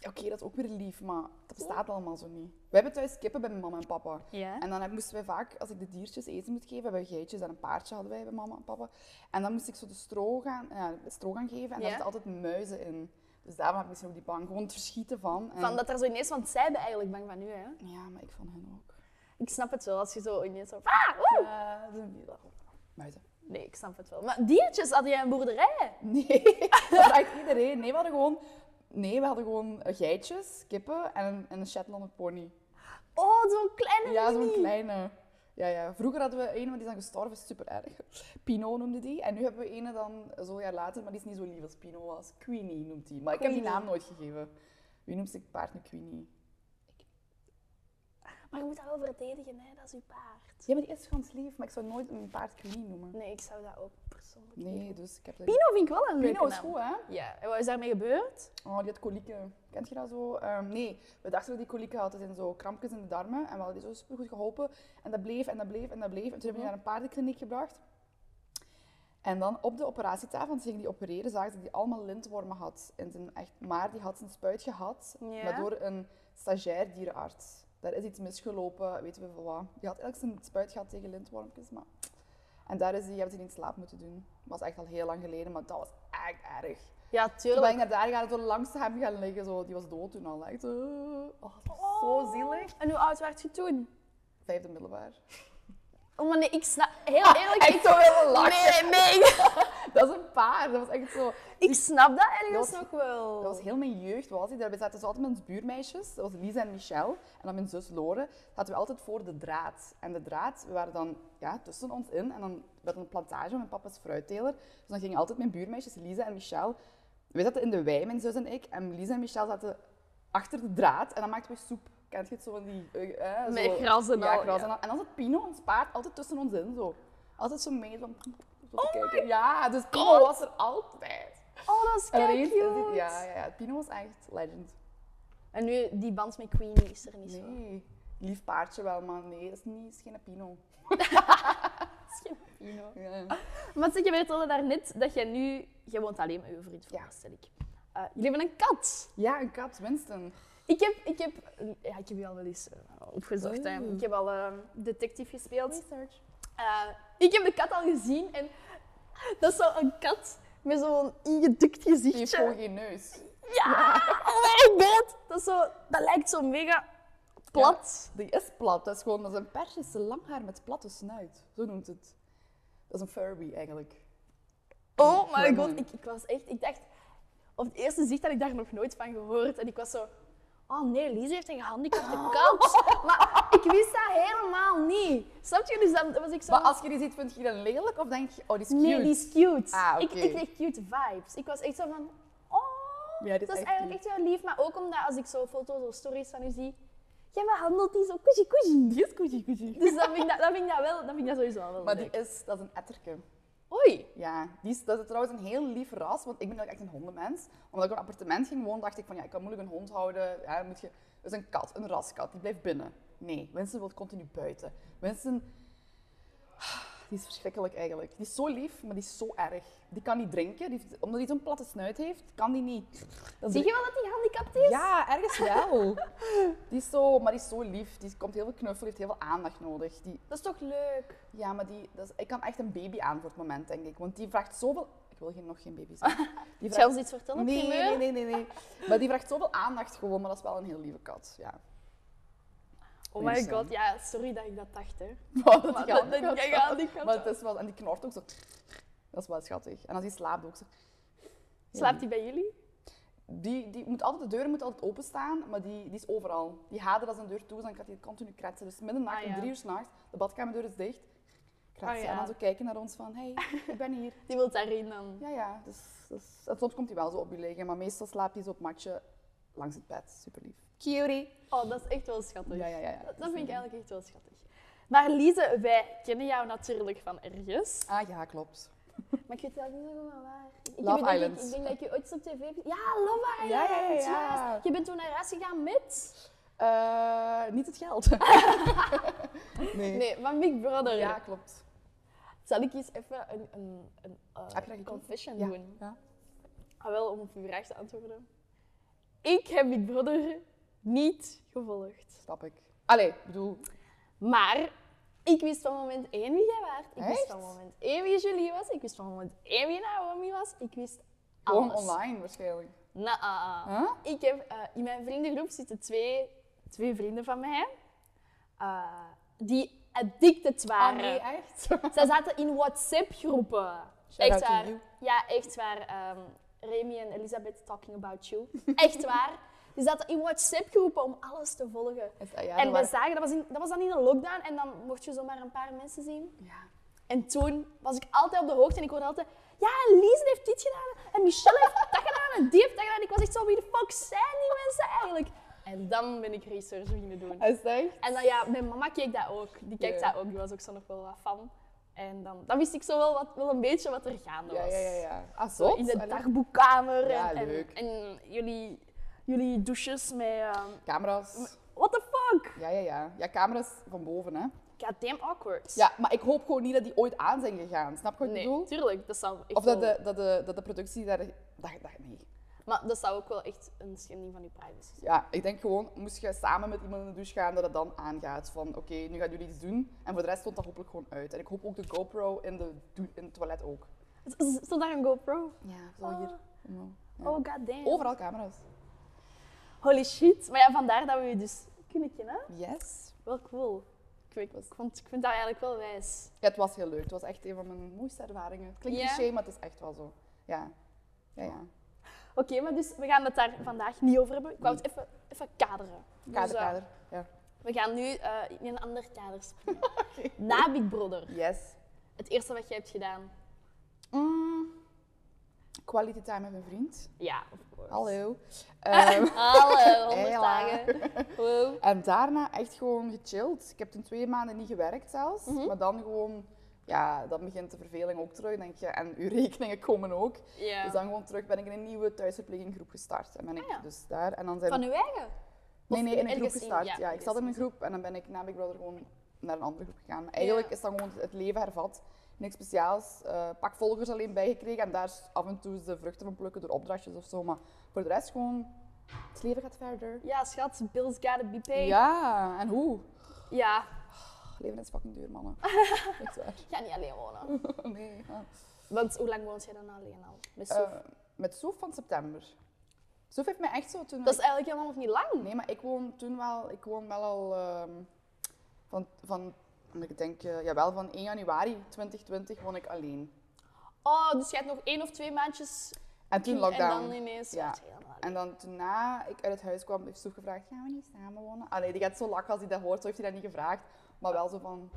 Speaker 1: Ja, Oké, dat is ook weer lief, maar dat bestaat allemaal zo niet. We hebben thuis kippen bij mijn mama en papa.
Speaker 2: Ja.
Speaker 1: En dan heb- moesten wij vaak, als ik de diertjes eten moet geven, hebben we geitjes en een paardje hadden wij bij mama en papa. En dan moest ik zo de stro gaan, ja, de stro gaan geven en
Speaker 2: Ja.
Speaker 1: daar zitten altijd muizen in. Dus daarom heb ik misschien ook die bang. Gewoon het verschieten van. En...
Speaker 2: Van dat er zo ineens... Want zij hebben eigenlijk bang van u, hè.
Speaker 1: Ja, maar ik van hen ook.
Speaker 2: Ik snap het wel als je zo ineens zo... Ah, woe!
Speaker 1: Ja, dat is niet wel. Muizen.
Speaker 2: Nee, ik snap het wel. Maar diertjes, had jij een boerderij?
Speaker 1: Nee, dat dacht iedereen. Nee, we hadden gewoon, nee, we hadden gewoon eh, geitjes, kippen en een, en een Shetlander pony.
Speaker 2: Oh, zo'n kleine
Speaker 1: Ja, zo'n
Speaker 2: mini.
Speaker 1: kleine. Ja, ja. Vroeger hadden we een, maar die is dan gestorven, super erg. Pino noemde die. En nu hebben we ene dan zo'n jaar later, maar die is niet zo lief als Pino was. Queenie noemt die. Maar ik heb die
Speaker 2: Queenie.
Speaker 1: naam nooit gegeven. Wie noemt zijn paard nu Queenie?
Speaker 2: Maar je moet dat wel verdedigen, hè. Dat is uw paard.
Speaker 1: Ja, maar die is gewoon lief, maar ik zou nooit een paard Queenie noemen.
Speaker 2: Nee, ik zou dat ook persoonlijk niet
Speaker 1: Nee,
Speaker 2: doen.
Speaker 1: dus ik heb dat niet.
Speaker 2: Pino vind ik wel een leuke
Speaker 1: Pino is
Speaker 2: naam.
Speaker 1: goed, hè?
Speaker 2: Ja, en wat is daarmee gebeurd?
Speaker 1: Oh, die had kolieken. Kent je dat zo? Ehm, nee, we dachten dat die kolieken had. Het zijn zo krampjes in de darmen. En we hadden die zo supergoed geholpen. En dat bleef en dat bleef en dat bleef. En toen hebben we die naar een paardenkliniek gebracht. En En dan op de operatietafel, want ze ging die opereren, zagen ze dat hij allemaal lintwormen had. in zijn echt, maar die had een spuit gehad,
Speaker 2: Ja.
Speaker 1: maar door een stagiair dierenarts. Daar is iets misgelopen, weten we van wat. Die had eigenlijk zijn spuit gehad tegen lintwormpjes, maar... En daar is die, hebben ze die in slaap moeten doen. Dat was echt al heel lang geleden, maar dat was echt erg.
Speaker 2: Ja,
Speaker 1: Terwijl
Speaker 2: tuurlijk.
Speaker 1: ik naar daar ga, zo langs hem gaan liggen, zo. die was dood toen al. Echt, eh. oh, dat was zo zielig.
Speaker 2: En hoe oud werd je toen?
Speaker 1: Vijfde middelbaar.
Speaker 2: Oh, maar nee, ik snap... Heel eerlijk, ik...
Speaker 1: Ah, Echt zo heel lang.
Speaker 2: Nee, nee, ik,
Speaker 1: Dat is een paar, dat was echt zo.
Speaker 2: ik snap dat
Speaker 1: Dat
Speaker 2: ergens
Speaker 1: was-
Speaker 2: nog wel.
Speaker 1: Dat was heel mijn jeugd, was ik. Daarbij zaten ze altijd met ons buurmeisjes. Dat was Lisa en Michelle. En dan mijn zus Lore. Zaten we altijd voor de draad. En de draad, we waren dan ja, tussen ons in. En dan werd een plantage met papa's fruitteler. Dus dan gingen altijd mijn buurmeisjes, Lisa en Michelle. Wij zaten in de wei, mijn zus en ik. En Lisa en Michelle zaten achter de draad. En dan maakten we soep. Kent je het zo van die... eh, eh, zo-
Speaker 2: Met gras en
Speaker 1: ja,
Speaker 2: al,
Speaker 1: gras
Speaker 2: ja.
Speaker 1: En, al. en dan zat Pino, ons paard, altijd tussen ons in. Zo. Altijd zo mee. Zo, zo te kijken. Ja, dus Pino was er altijd.
Speaker 2: Oh, dat is
Speaker 1: En
Speaker 2: kei
Speaker 1: ineens is dit-
Speaker 2: cute.
Speaker 1: ja, ja, ja, Pino was echt legend.
Speaker 2: En nu, die band met Queenie is er niet zo.
Speaker 1: Nee, lief paardje wel, maar nee, dat is, niet, is geen Pino.
Speaker 2: Pino.
Speaker 1: Ja.
Speaker 2: Maar zeg, je vertelde daarnet dat jij nu... Jij woont alleen met je vriend,
Speaker 1: Ja.
Speaker 2: veronderstel ik. Eh, jullie hebben een kat.
Speaker 1: ja, een kat, Winston.
Speaker 2: Ik heb... Ik heb, ja, ik heb je al wel eens eh, opgezocht. hè.
Speaker 1: Oeh.
Speaker 2: Ik heb al eh, detective gespeeld.
Speaker 1: Research.
Speaker 2: Eh, ik heb de kat al gezien en dat is zo een kat met zo'n ingedukt
Speaker 1: Die heeft gewoon
Speaker 2: gezichtje.
Speaker 1: geen neus.
Speaker 2: Ja, oh mijn god! Dat, is zo, dat lijkt zo mega plat.
Speaker 1: Die is plat, dat is gewoon dat is een persische langhaar met platte snuit. Zo noemt het. Dat is een Furby eigenlijk.
Speaker 2: Oh mijn god,
Speaker 1: Gremlin.
Speaker 2: ik, ik was echt, ik dacht, op het eerste zicht had ik daar nog nooit van gehoord. En ik was zo, oh nee, Lies heeft een gehandicapte kat. Maar ik wist dat helemaal niet. Snap je? Dus dan was ik zo,
Speaker 1: Maar als je die ziet, vind je die dan lelijk of denk je, oh, die is cute?
Speaker 2: nee, die is cute.
Speaker 1: Ah,
Speaker 2: ik,
Speaker 1: oké.
Speaker 2: ik kreeg cute vibes. Ik was echt zo van, oh,
Speaker 1: Ja, dit is
Speaker 2: dat is
Speaker 1: echt
Speaker 2: eigenlijk echt heel lief. Maar ook omdat als ik zo foto's of stories van u zie, jij behandelt die zo koezie koezie.
Speaker 1: Die is coochie coochie.
Speaker 2: Dus dan vind ik dat, dan vind ik dat, wel, dan vind ik dat sowieso wel
Speaker 1: Maar
Speaker 2: leuk.
Speaker 1: die is, dat is een etterke.
Speaker 2: Oei.
Speaker 1: Ja, die is, dat is trouwens een heel lief ras, want ik ben ook echt een hondenmens. Omdat ik op een appartement ging wonen, dacht ik van ja, ik kan moeilijk een hond houden. Ja, dan moet je... Dat is een kat, een raskat, die blijft binnen. Nee, Winston wil continu buiten. Winston, die is verschrikkelijk eigenlijk. Die is zo lief, maar die is zo erg. Die kan niet drinken, die heeft- omdat hij zo'n platte snuit heeft, kan die niet. Dat is
Speaker 2: Zie je wel dat die gehandicapt is?
Speaker 1: ja, ergens wel. die is zo, maar die is zo lief. Die komt heel veel knuffelen, heeft heel veel aandacht nodig. Die,
Speaker 2: Dat is toch leuk?
Speaker 1: ja, maar die, dat is- ik kan echt een baby aan voor het moment, denk ik. Want die vraagt zoveel... Ik wil geen, nog geen baby zijn. Die
Speaker 2: Zou ons iets vertellen?
Speaker 1: Nee,
Speaker 2: primeur?
Speaker 1: nee, nee, nee, nee. Maar die vraagt zoveel aandacht gewoon, maar dat is wel een heel lieve kat. Ja.
Speaker 2: Oh my
Speaker 1: Winston.
Speaker 2: god, ja, sorry dat ik dat dacht, hè.
Speaker 1: Maar
Speaker 2: Maar
Speaker 1: dat
Speaker 2: dat-
Speaker 1: gaat wel.
Speaker 2: dat- dat gaat niet, gaat
Speaker 1: Maar het is wel... En die knort ook zo. Dat is wel schattig. En als die slaapt ook zo.
Speaker 2: Slaapt hij bij jullie?
Speaker 1: Die, die moet altijd, de deuren moeten altijd openstaan, maar die, die is overal. Die hadert als een deur toe, is, dan gaat die continu kratsen. Dus midden in de nacht,
Speaker 2: Ah,
Speaker 1: om
Speaker 2: ja.
Speaker 1: drie uur s'nachts, de badkamerdeur is dicht. Kratsen.
Speaker 2: Ah, ja.
Speaker 1: En dan zo kijken naar ons van, hé, hey, ik ben hier.
Speaker 2: Die wil daarin dan.
Speaker 1: Ja, ja. Dus, dus, en soms komt hij wel zo op je liggen, maar meestal slaapt hij zo op het matje langs het bed. Super lief. Cutie.
Speaker 2: Oh, dat is echt wel schattig.
Speaker 1: Ja, ja, ja. ja.
Speaker 2: Dat, dat vind ik eigenlijk echt wel schattig. Maar Lize, wij kennen jou natuurlijk van ergens.
Speaker 1: Ah ja, klopt.
Speaker 2: Maar ik weet wel niet helemaal waar. Ik- Ik
Speaker 1: Love
Speaker 2: weet dat ik-
Speaker 1: Island.
Speaker 2: Ik denk dat ik je ooit eens op tv heb gezien. Ja, Love Island!
Speaker 1: Ja, ja, ja,
Speaker 2: juist.
Speaker 1: ja.
Speaker 2: Je bent toen naar huis gegaan met...
Speaker 1: Eh, niet het geld. nee.
Speaker 2: Nee, van Big Brother.
Speaker 1: Ja, klopt.
Speaker 2: Zal ik eens even een, een, een eh,
Speaker 1: Heb Ah, je dat gekocht?
Speaker 2: confession
Speaker 1: Ja.
Speaker 2: doen?
Speaker 1: Ja.
Speaker 2: Ah, wel, om op uw vraag te antwoorden. Ik heb Big Brother niet gevolgd.
Speaker 1: Snap ik. Allee, ik bedoel,
Speaker 2: Maar ik wist van moment één wie jij waart. Ik wist
Speaker 1: Echt?
Speaker 2: van moment één wie Julie was. Ik wist van moment één wie Naomi was. Ik wist
Speaker 1: gewoon
Speaker 2: alles.
Speaker 1: online waarschijnlijk.
Speaker 2: Na ah,
Speaker 1: Huh?
Speaker 2: Ik heb, eh, in mijn vriendengroep zitten twee, twee vrienden van mij. eh, die addicted
Speaker 1: Ah,
Speaker 2: waren.
Speaker 1: nee, echt?
Speaker 2: Zij zaten in WhatsApp-groepen.
Speaker 1: Shout out
Speaker 2: Echt
Speaker 1: to
Speaker 2: waar.
Speaker 1: you.
Speaker 2: Ja, echt waar. ehm, Remy en Elisabeth talking about you. Echt waar. Die zaten in WhatsApp-groepen om alles te volgen.
Speaker 1: Is dat- ja, dat
Speaker 2: en wij
Speaker 1: waren-
Speaker 2: zagen, dat was, in, dat was dan in een lockdown en dan mocht je zomaar een paar mensen zien.
Speaker 1: Ja.
Speaker 2: En toen was ik altijd op de hoogte en ik hoorde altijd... Ja, Lies heeft dit gedaan en Michelle heeft dat gedaan en die heeft dat gedaan. Ik was echt zo, wie de fuck zijn die mensen eigenlijk? En dan ben ik research beginnen doen.
Speaker 1: Is dat echt?
Speaker 2: En dan ja, mijn mama keek dat ook. Die kijkt
Speaker 1: Ja.
Speaker 2: dat ook, die was ook zo nog wel wat van. En dan, dan wist ik zo wel, wat, wel een beetje wat er gaande
Speaker 1: Ja,
Speaker 2: was.
Speaker 1: ja, ja. ja. Ah,
Speaker 2: Zo
Speaker 1: zo?
Speaker 2: in de dagboekkamer
Speaker 1: Ja,
Speaker 2: en, en,
Speaker 1: leuk.
Speaker 2: en jullie, jullie douches met... ehm,
Speaker 1: Camera's.
Speaker 2: what the fuck? fuck?
Speaker 1: Ja, ja, ja. Ja, camera's van boven, hè.
Speaker 2: Goddamn awkward.
Speaker 1: Ja, maar ik hoop gewoon niet dat die ooit aan zijn gegaan. Snap je wat ik
Speaker 2: Nee,
Speaker 1: bedoel?
Speaker 2: tuurlijk. Dat zou echt
Speaker 1: Of dat
Speaker 2: wel-
Speaker 1: de, dat, de, dat de productie daar... Dat, dat, nee.
Speaker 2: Maar dat zou ook wel echt een schending van je privacy zijn.
Speaker 1: Ja, ik denk gewoon, moest je samen met iemand in de douche gaan, dat het dan aangaat. Van, oké, nu gaan jullie iets doen. En voor de rest stond dat hopelijk gewoon uit. En ik hoop ook de GoPro in, de, dou- in het toilet ook.
Speaker 2: Z- z- Stond daar een GoPro?
Speaker 1: Ja, Ah. zo
Speaker 2: Oh,
Speaker 1: hier. Zo. Ja.
Speaker 2: oh goddamn.
Speaker 1: Overal camera's.
Speaker 2: Holy shit. Maar ja, vandaar dat we je dus kunnen kennen.
Speaker 1: Yes.
Speaker 2: Wel cool. Ik, weet, ik, vond, ik vind dat eigenlijk wel wijs.
Speaker 1: Ja, het was heel leuk. Het was echt een van mijn mooiste ervaringen. Het klinkt
Speaker 2: Ja?
Speaker 1: cliché, maar het is echt wel zo. Ja. Ja, ja.
Speaker 2: Oké, maar dus we gaan het daar vandaag niet over hebben. Ik wou het even, even kaderen.
Speaker 1: Kader,
Speaker 2: Dus, eh,
Speaker 1: kader. Ja.
Speaker 2: We gaan nu eh, in een ander kader springen. Na Big Brother.
Speaker 1: Yes.
Speaker 2: Het eerste wat jij hebt gedaan.
Speaker 1: Mm. Quality time met mijn vriend.
Speaker 2: Ja, of course.
Speaker 1: Hallo. Ehm,
Speaker 2: Hallo, 100
Speaker 1: Hela.
Speaker 2: dagen. Wow.
Speaker 1: En daarna echt gewoon gechilled. Ik heb toen twee maanden niet gewerkt zelfs.
Speaker 2: Mhm.
Speaker 1: Maar dan gewoon, ja, dan begint de verveling ook terug, denk je. En uw rekeningen komen ook.
Speaker 2: Ja.
Speaker 1: Dus dan gewoon terug ben ik in een nieuwe thuisverpleeginggroep gestart. En ben ik
Speaker 2: Ah, ja.
Speaker 1: dus daar. En dan zijn
Speaker 2: Van uw eigen?
Speaker 1: Nee, nee, in een groep
Speaker 2: ergens in-
Speaker 1: gestart.
Speaker 2: ja,
Speaker 1: Ja, ik
Speaker 2: ergens
Speaker 1: zat in
Speaker 2: in-
Speaker 1: een groep en dan ben ik na Big Brother gewoon naar een andere groep gegaan. Eigenlijk
Speaker 2: Ja.
Speaker 1: is dan gewoon het leven hervat. Niks speciaals. eh, pak volgers alleen bijgekregen en daar af en toe de vruchten van plukken door opdrachtjes of zo. Maar voor de rest gewoon, het leven gaat verder.
Speaker 2: Ja, schat, Bill's gotta be paid.
Speaker 1: Ja, en hoe?
Speaker 2: ja.
Speaker 1: Het leven is fucking duur, mannen. Echt waar.
Speaker 2: Ik ga niet alleen wonen.
Speaker 1: Nee. ja.
Speaker 2: Want hoe lang woont jij dan alleen al? Met Soef?
Speaker 1: Eh, met Soef van september. Soef heeft mij echt zo toen...
Speaker 2: dat is eigenlijk helemaal nog niet lang.
Speaker 1: Nee, maar ik woon toen wel, ik woon wel al ehm, van, van, ik denk, eh, jawel, van 1 januari 2020 woon ik alleen.
Speaker 2: Oh, dus jij hebt nog één of twee maandjes.
Speaker 1: En toen
Speaker 2: En
Speaker 1: lockdown.
Speaker 2: dan ineens.
Speaker 1: Ja.
Speaker 2: werd je helemaal alleen.
Speaker 1: En dan toen na ik uit het huis kwam, heeft Soef gevraagd, gaan we niet samen wonen? Ah nee, die gaat zo lachen als hij dat hoort, zo heeft hij dat niet gevraagd. Maar wel zo van,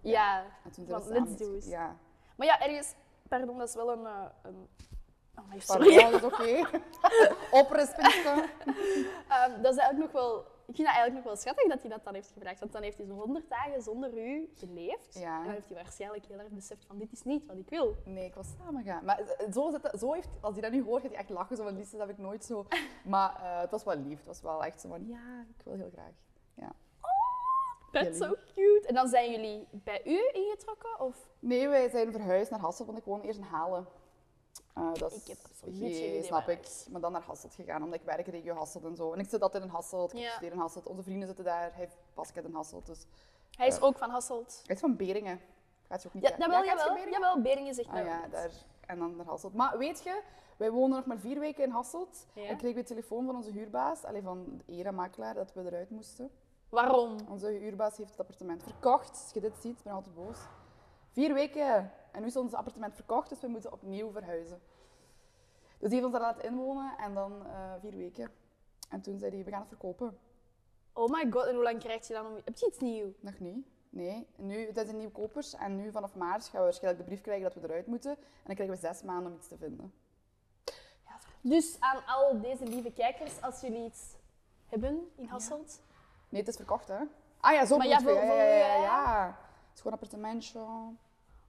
Speaker 2: Ja.
Speaker 1: en toen zijn we
Speaker 2: Van,
Speaker 1: samen.
Speaker 2: let's do it.
Speaker 1: Ja.
Speaker 2: Maar ja, ergens. Pardon, dat is wel een. eh, een... Oh, maar
Speaker 1: Sorry.
Speaker 2: sorry.
Speaker 1: Dat is oké. Oprispingske.
Speaker 2: Ehm, dat is eigenlijk nog wel. Ik vind dat eigenlijk nog wel schattig dat hij dat dan heeft gevraagd. Want dan heeft hij zo'n 100 dagen zonder u geleefd.
Speaker 1: Ja.
Speaker 2: En dan heeft hij waarschijnlijk heel erg beseft van dit is niet wat ik wil.
Speaker 1: Nee, ik was samen gaan. Maar zo, zit dat- zo heeft, als hij dat nu hoort, gaat hij echt lachen. Zo van, liefst dat heb ik nooit zo. Maar eh, het was wel lief. Het was wel echt zo van, ja, ik wil heel graag.
Speaker 2: That's
Speaker 1: Jullie?
Speaker 2: so cute. En dan zijn jullie bij u ingetrokken? Of?
Speaker 1: Nee, wij zijn verhuisd naar Hasselt, want ik woon eerst in Halen. Eh, dat is
Speaker 2: Ik heb absoluut geen
Speaker 1: geen-
Speaker 2: idee
Speaker 1: snap
Speaker 2: waar
Speaker 1: ik. Maar dan naar Hasselt gegaan, omdat ik werk in regio Hasselt en zo. En ik zit altijd in Hasselt, ik
Speaker 2: Ja.
Speaker 1: studeer in Hasselt. Onze vrienden zitten daar, hij heeft basket in Hasselt. Dus
Speaker 2: Hij is ook van Hasselt.
Speaker 1: hij is van Beringen. Gaat je ook niet
Speaker 2: Ja,
Speaker 1: ke-
Speaker 2: dat wel,
Speaker 1: gaat je
Speaker 2: jawel.
Speaker 1: Beringen?
Speaker 2: Jawel, Beringen zegt mij
Speaker 1: Ah
Speaker 2: wel
Speaker 1: ja,
Speaker 2: iets.
Speaker 1: daar. En dan naar Hasselt. Maar weet je, wij wonen nog maar vier weken in Hasselt.
Speaker 2: Ja?
Speaker 1: En kregen we telefoon van onze huurbaas, allee, van de Era makelaar, dat we eruit moesten.
Speaker 2: Waarom?
Speaker 1: Onze huurbaas heeft het appartement verkocht. Als je dit ziet, ik ben altijd boos. Vier weken. En nu is ons appartement verkocht, dus we moeten opnieuw verhuizen. Dus die heeft ons daar laten inwonen en dan eh, vier weken. En toen zei hij, we gaan het verkopen.
Speaker 2: Oh my god, en hoe lang krijg je dan om... Heb je iets nieuw?
Speaker 1: Nog niet. Nee, nu, het is een nieuw kopers en nu vanaf maart gaan we waarschijnlijk de brief krijgen dat we eruit moeten. En dan krijgen we zes maanden om iets te vinden.
Speaker 2: Dus aan al deze lieve kijkers, als jullie iets hebben in Hasselt...
Speaker 1: Nee, het is verkocht, hè? Ah ja, zo
Speaker 2: Maar
Speaker 1: bedoel je.
Speaker 2: ja, voor-
Speaker 1: ja, ja,
Speaker 2: voor-
Speaker 1: ja,
Speaker 2: ja.
Speaker 1: ja. Het is gewoon een appartementje.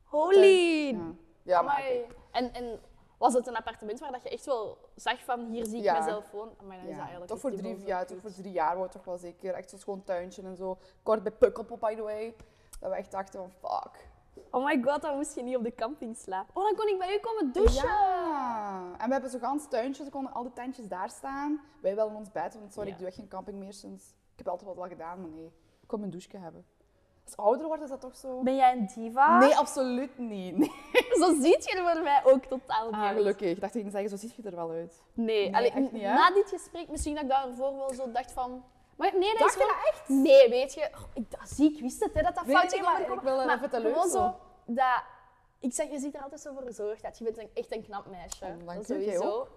Speaker 2: Holy!
Speaker 1: Ja, ja maar
Speaker 2: Amai. En, en was het een appartement waar dat je echt wel zag van, hier zie ik
Speaker 1: Ja.
Speaker 2: mezelf wonen? Amai, dan is dat
Speaker 1: Ja,
Speaker 2: eigenlijk
Speaker 1: toch voor,
Speaker 2: echt
Speaker 1: drie,
Speaker 2: dubbel zo
Speaker 1: ja,
Speaker 2: cute.
Speaker 1: toch voor drie jaar wordt toch wel zeker. Echt zo'n schoon tuintje en zo. Kort bij Pukkelpop, by the way. Dat we echt dachten van fuck.
Speaker 2: Oh my god, dan moest je niet op de camping slapen. Oh, dan kon ik bij u komen douchen!
Speaker 1: Ja. En we hebben zo'n gans tuintje. Er konden al die tentjes daar staan. Wij wel in ons bed, want sorry,
Speaker 2: Ja.
Speaker 1: ik doe echt geen camping meer sinds... Ik heb altijd wat wel gedaan, maar nee. Ik kon mijn douche hebben. Als ik ouder wordt is dat toch zo...
Speaker 2: Ben jij een diva?
Speaker 1: Nee, absoluut niet. Nee.
Speaker 2: Zo ziet je er voor mij ook totaal niet
Speaker 1: Ah,
Speaker 2: uit.
Speaker 1: gelukkig. Ik dacht, ik ging zeggen, zo ziet je er wel uit.
Speaker 2: Nee,
Speaker 1: Nee,
Speaker 2: allee,
Speaker 1: echt niet, hè?
Speaker 2: na dit gesprek, misschien dat ik daarvoor wel zo dacht van... Maar nee, dat
Speaker 1: Dacht
Speaker 2: is
Speaker 1: je
Speaker 2: gewoon... echt? Nee, weet je. Oh, ik, dat zie ik, wist het, hè, dat dat
Speaker 1: Nee,
Speaker 2: fout
Speaker 1: nee,
Speaker 2: ging
Speaker 1: maar
Speaker 2: overkomen.
Speaker 1: ik wil er even te leuk
Speaker 2: gewoon
Speaker 1: zo.
Speaker 2: Dat, ik zeg, je ziet er altijd zo voor gezorgd uit. Je bent een, echt een knap meisje.
Speaker 1: Oh, dank
Speaker 2: dat
Speaker 1: je, jij
Speaker 2: sowieso.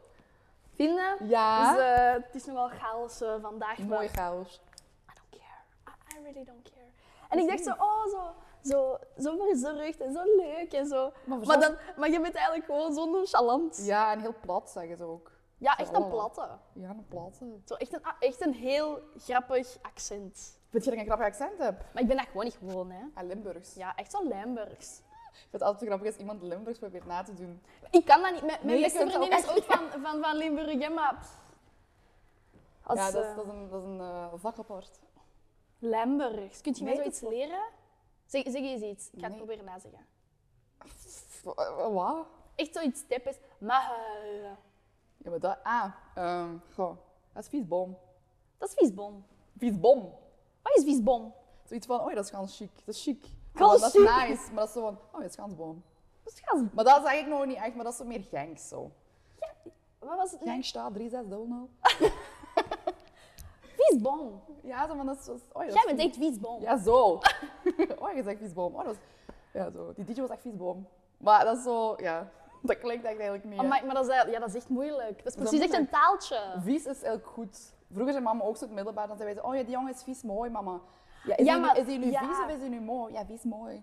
Speaker 2: Vinden?
Speaker 1: Ja.
Speaker 2: Dus eh, het is nogal chaos eh, vandaag. maar
Speaker 1: Mooi chaos.
Speaker 2: I don't care. I, I really don't care. En ik dacht zo, oh, zo, zo, zo verzorgd en zo leuk en zo.
Speaker 1: Maar,
Speaker 2: Maar, dan, maar je bent eigenlijk gewoon zo nonchalant. Ja,
Speaker 1: Ja, en heel plat zeggen ze ook.
Speaker 2: echt een
Speaker 1: Oh.
Speaker 2: platte.
Speaker 1: Ja, een platte.
Speaker 2: Zo echt, een, ah, echt een heel grappig accent.
Speaker 1: Vind je dat ik een grappig accent heb?
Speaker 2: Maar ik ben dat gewoon niet gewoon, hè.
Speaker 1: En Limburgs.
Speaker 2: Ja, echt zo Limburgs.
Speaker 1: Ik vind het altijd grappig als iemand Limburgs probeert na te doen.
Speaker 2: Ik kan dat niet. Mijn, mijn
Speaker 1: Nee, je
Speaker 2: beste
Speaker 1: kunt dat
Speaker 2: vriendin
Speaker 1: ook
Speaker 2: is ook van, van, van Limburg, hè, maar... pff. Als,
Speaker 1: ja, dat is,
Speaker 2: eh,
Speaker 1: dat is een, dat is een eh, vak apart.
Speaker 2: Lembergs. Kun je mij
Speaker 1: Weet
Speaker 2: zoiets
Speaker 1: het
Speaker 2: leren? Zeg, zeg eens iets. Ik ga het
Speaker 1: Nee.
Speaker 2: proberen nazeggen.
Speaker 1: Pff, eh, Wat?
Speaker 2: Echt zoiets typisch. eh, Mahuilen.
Speaker 1: Ja, maar dat... Ah, ehm, goh. Dat is viesbom.
Speaker 2: Dat is viesbom.
Speaker 1: Viesbom.
Speaker 2: Wat is viesbom?
Speaker 1: Zoiets van, oei, dat is gans chic. Dat is chic.
Speaker 2: Gans
Speaker 1: dat is
Speaker 2: chic.
Speaker 1: nice. Maar dat is zo van, oh, dat is gans bom.
Speaker 2: Dat is gas.
Speaker 1: Maar dat is eigenlijk nog niet echt, maar dat is zo meer genks zo.
Speaker 2: Wat was het? Nee.
Speaker 1: Genk staat 3600.
Speaker 2: Viesbom.
Speaker 1: Ja, zo, maar dat is... dat is- Oei, dat
Speaker 2: Jij
Speaker 1: is
Speaker 2: bent
Speaker 1: vies.
Speaker 2: echt viesbom.
Speaker 1: Ja, zo. oh, je zegt viesboom. Oh, dat is... Ja, zo. Die DJ was echt viesboom. Maar dat is zo... Ja, dat klinkt echt eigenlijk niet. hè.
Speaker 2: Amai, Oh, maar dat is, eigenlijk- ja, dat is echt moeilijk. Dat is precies echt een
Speaker 1: moeilijk?
Speaker 2: taaltje.
Speaker 1: Vies is eigenlijk goed. Vroeger zei mama ook zo in het middelbaar, dan zei wij zo, oh ja, die jongen is vies mooi, mama. Ja, is
Speaker 2: Ja,
Speaker 1: hij
Speaker 2: maar-
Speaker 1: nu, is die nu
Speaker 2: ja.
Speaker 1: vies of is hij nu mooi? Ja, vies mooi.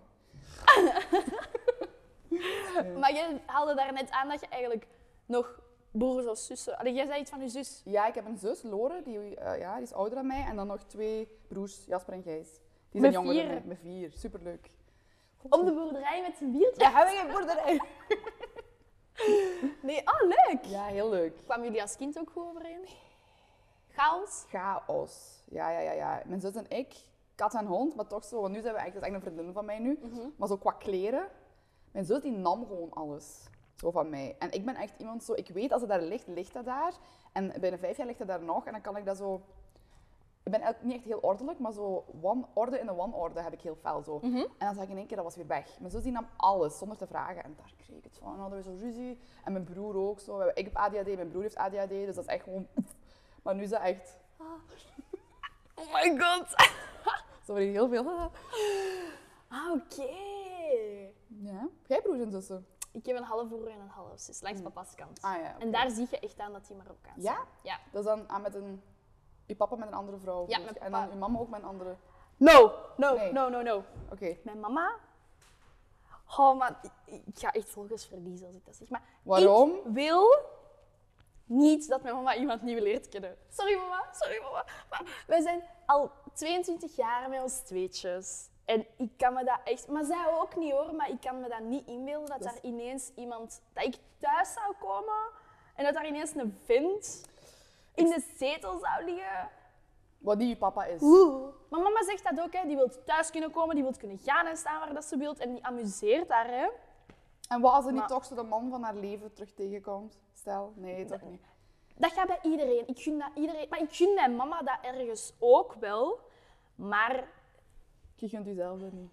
Speaker 2: Maar jij haalde daarnet aan dat je eigenlijk nog broers of zussen... Allee, jij zei iets van je zus.
Speaker 1: Ja, ik heb een zus, Lore, die, eh, ja, die is ouder dan mij. En dan nog twee broers, Jasper en Gijs. Die
Speaker 2: Met
Speaker 1: zijn jonger dan
Speaker 2: vier?
Speaker 1: mij. Met vier, superleuk.
Speaker 2: Op de boerderij met z'n vier.
Speaker 1: Ja, hebben we geen boerderij?
Speaker 2: Nee, ah, leuk.
Speaker 1: Ja, heel leuk.
Speaker 2: Kwamen jullie als kind ook goed overeen? Chaos?
Speaker 1: Chaos. Ja, ja, ja, ja. Mijn zus en ik, kat en hond, maar toch zo. Want nu zijn we echt, dat is echt een vriendin van mij nu. Maar zo qua kleren. Mijn zus die nam gewoon alles. Zo van mij. En ik ben echt iemand zo, ik weet als het daar ligt, ligt dat daar. En binnen vijf jaar ligt dat daar nog. En dan kan ik dat zo... Ik ben eigenlijk niet echt heel ordelijk, maar zo one orde in de one orde heb ik heel fel zo. En dan zag ik in één keer, dat was weer weg. Mijn zus die nam alles, zonder te vragen. En daar kreeg ik het van. En dan hadden we zo ruzie. En mijn broer ook zo. We hebben- Ik heb ADHD, mijn broer heeft ADHD. Dus dat is echt gewoon... Maar nu is dat echt...
Speaker 2: Oh my god.
Speaker 1: Zo waren heel veel.
Speaker 2: Ah, oké.
Speaker 1: Ja. Jij broers en zussen?
Speaker 2: Ik heb een half broer en een half zus, langs papa's kant.
Speaker 1: Ah ja.
Speaker 2: En daar zie je echt aan dat die Marokkaans zijn.
Speaker 1: Ja?
Speaker 2: Ja.
Speaker 1: Dat is dan aan met een... Je papa met een andere vrouw.
Speaker 2: Ja,
Speaker 1: dus-
Speaker 2: mijn
Speaker 1: En
Speaker 2: papa.
Speaker 1: dan je mama ook met een andere.
Speaker 2: No, no,
Speaker 1: Nee.
Speaker 2: no, no, no.
Speaker 1: Oké.
Speaker 2: Mijn mama... Oh man, ik ik ga echt volgers verliezen als ik dat zeg. Maar
Speaker 1: Waarom?
Speaker 2: Ik wil niet dat mijn mama iemand nieuw leert kennen. Sorry mama, sorry mama. Maar wij zijn al 22 jaar met ons tweetjes. En ik kan me dat echt... Maar zij ook niet hoor, maar ik kan me dat niet inbeelden dat
Speaker 1: Dat
Speaker 2: daar
Speaker 1: is-
Speaker 2: ineens iemand... Dat ik thuis zou komen en dat daar ineens een vent in de zetel zou liggen.
Speaker 1: Wat die je papa is.
Speaker 2: Oeh. Maar mama zegt dat ook, hè. die wil thuis kunnen komen, die wil kunnen gaan en staan waar dat ze wil. En die amuseert daar. Hè.
Speaker 1: En wat als ze
Speaker 2: Maar-
Speaker 1: niet toch zo de man van haar leven terug tegenkomt? Stel, nee, toch niet.
Speaker 2: Dat gaat bij iedereen. Ik gun dat iedereen. Maar ik gun mijn mama dat ergens ook wel. Maar
Speaker 1: Je gunt jezelf dat niet.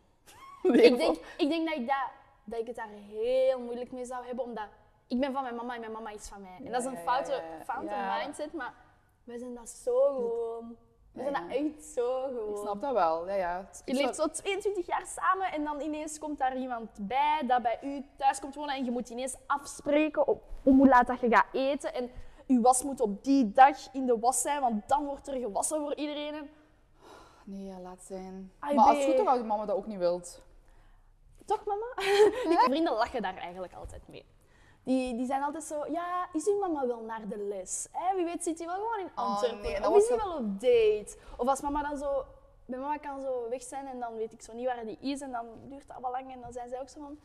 Speaker 2: ik denk, ik denk dat, ik dat, dat ik het daar heel moeilijk mee zou hebben. Omdat ik ben van mijn mama en mijn mama is van mij. En dat is
Speaker 1: Ja,
Speaker 2: een
Speaker 1: ja,
Speaker 2: foute,
Speaker 1: ja, ja.
Speaker 2: foute
Speaker 1: Ja.
Speaker 2: mindset. Maar wij zijn dat zo gewoon.
Speaker 1: Ja,
Speaker 2: We zijn dat
Speaker 1: ja.
Speaker 2: echt zo
Speaker 1: Ik
Speaker 2: gewoon.
Speaker 1: snap dat wel, ja, ja. Het-
Speaker 2: Je
Speaker 1: ik
Speaker 2: leeft
Speaker 1: zou-
Speaker 2: zo 22 jaar samen en dan ineens komt daar iemand bij dat bij u thuis komt wonen en je moet ineens afspreken op om hoe laat dat je gaat eten en uw was moet op die dag in de was zijn, want dan wordt er gewassen voor iedereen. En
Speaker 1: Nee, ja, laat zijn.
Speaker 2: Ai,
Speaker 1: maar als
Speaker 2: nee.
Speaker 1: het goed is, wou je mama dat ook niet wilt.
Speaker 2: Toch, mama? Mijn vrienden lachen daar eigenlijk altijd mee. Die, die zijn altijd zo, ja, is uw mama wel naar de les? Hè? Wie weet zit hij wel gewoon in Antwerpen.
Speaker 1: Oh, nee, dat
Speaker 2: of
Speaker 1: was
Speaker 2: is hij
Speaker 1: zo-
Speaker 2: wel op date? Of als mama dan zo... Mijn mama kan zo weg zijn en dan weet ik zo niet waar die is. En dan duurt dat wel lang en dan zijn zij ook zo van...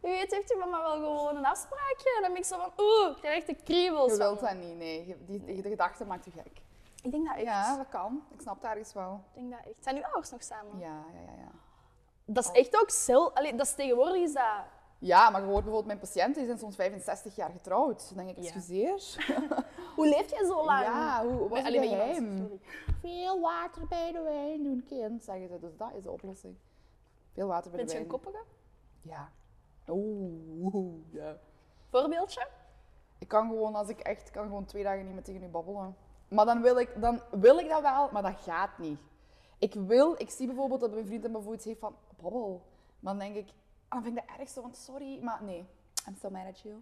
Speaker 2: Wie weet heeft uw mama wel gewoon een afspraakje? En dan ben ik zo van, oeh, ik krijg echt de kriebels.
Speaker 1: Je
Speaker 2: van.
Speaker 1: wilt dat niet, nee. Je- Die, die- de gedachte maakt je gek.
Speaker 2: Ik denk dat echt.
Speaker 1: Ja, dat kan. Ik snap dat ergens wel.
Speaker 2: Ik denk dat echt. Zijn uw ouders nog samen?
Speaker 1: Ja, Oh. ja, ja. ja.
Speaker 2: Dat is echt ook cel... Allee, dat is tegenwoordig is dat...
Speaker 1: Ja, maar je hoort bijvoorbeeld mijn patiënten, die zijn soms 65 jaar getrouwd. Dan denk ik,
Speaker 2: Ja.
Speaker 1: excuseer.
Speaker 2: Hoe leef jij zo lang?
Speaker 1: Ja, hoe was het
Speaker 2: Allee,
Speaker 1: bij
Speaker 2: met
Speaker 1: hem?
Speaker 2: iemand, sorry.
Speaker 1: Veel water bij de wijn doen, kind, zeggen ze. Dus dat is de oplossing. Veel water bij
Speaker 2: Bent
Speaker 1: de
Speaker 2: je
Speaker 1: wijn.
Speaker 2: een koppige?
Speaker 1: Ja. Oeh, oeh, ja.
Speaker 2: Voorbeeldje?
Speaker 1: Ik kan gewoon, als ik echt, kan gewoon twee dagen niet meer tegen u babbelen. Maar dan wil, ik, dan wil ik dat wel, maar dat gaat niet. Ik wil, ik zie bijvoorbeeld dat mijn vriend en bijvoorbeeld iets heeft van, babbel. Maar dan denk ik, dan vind ik dat erg zo, want sorry, maar nee. I'm still mad at you.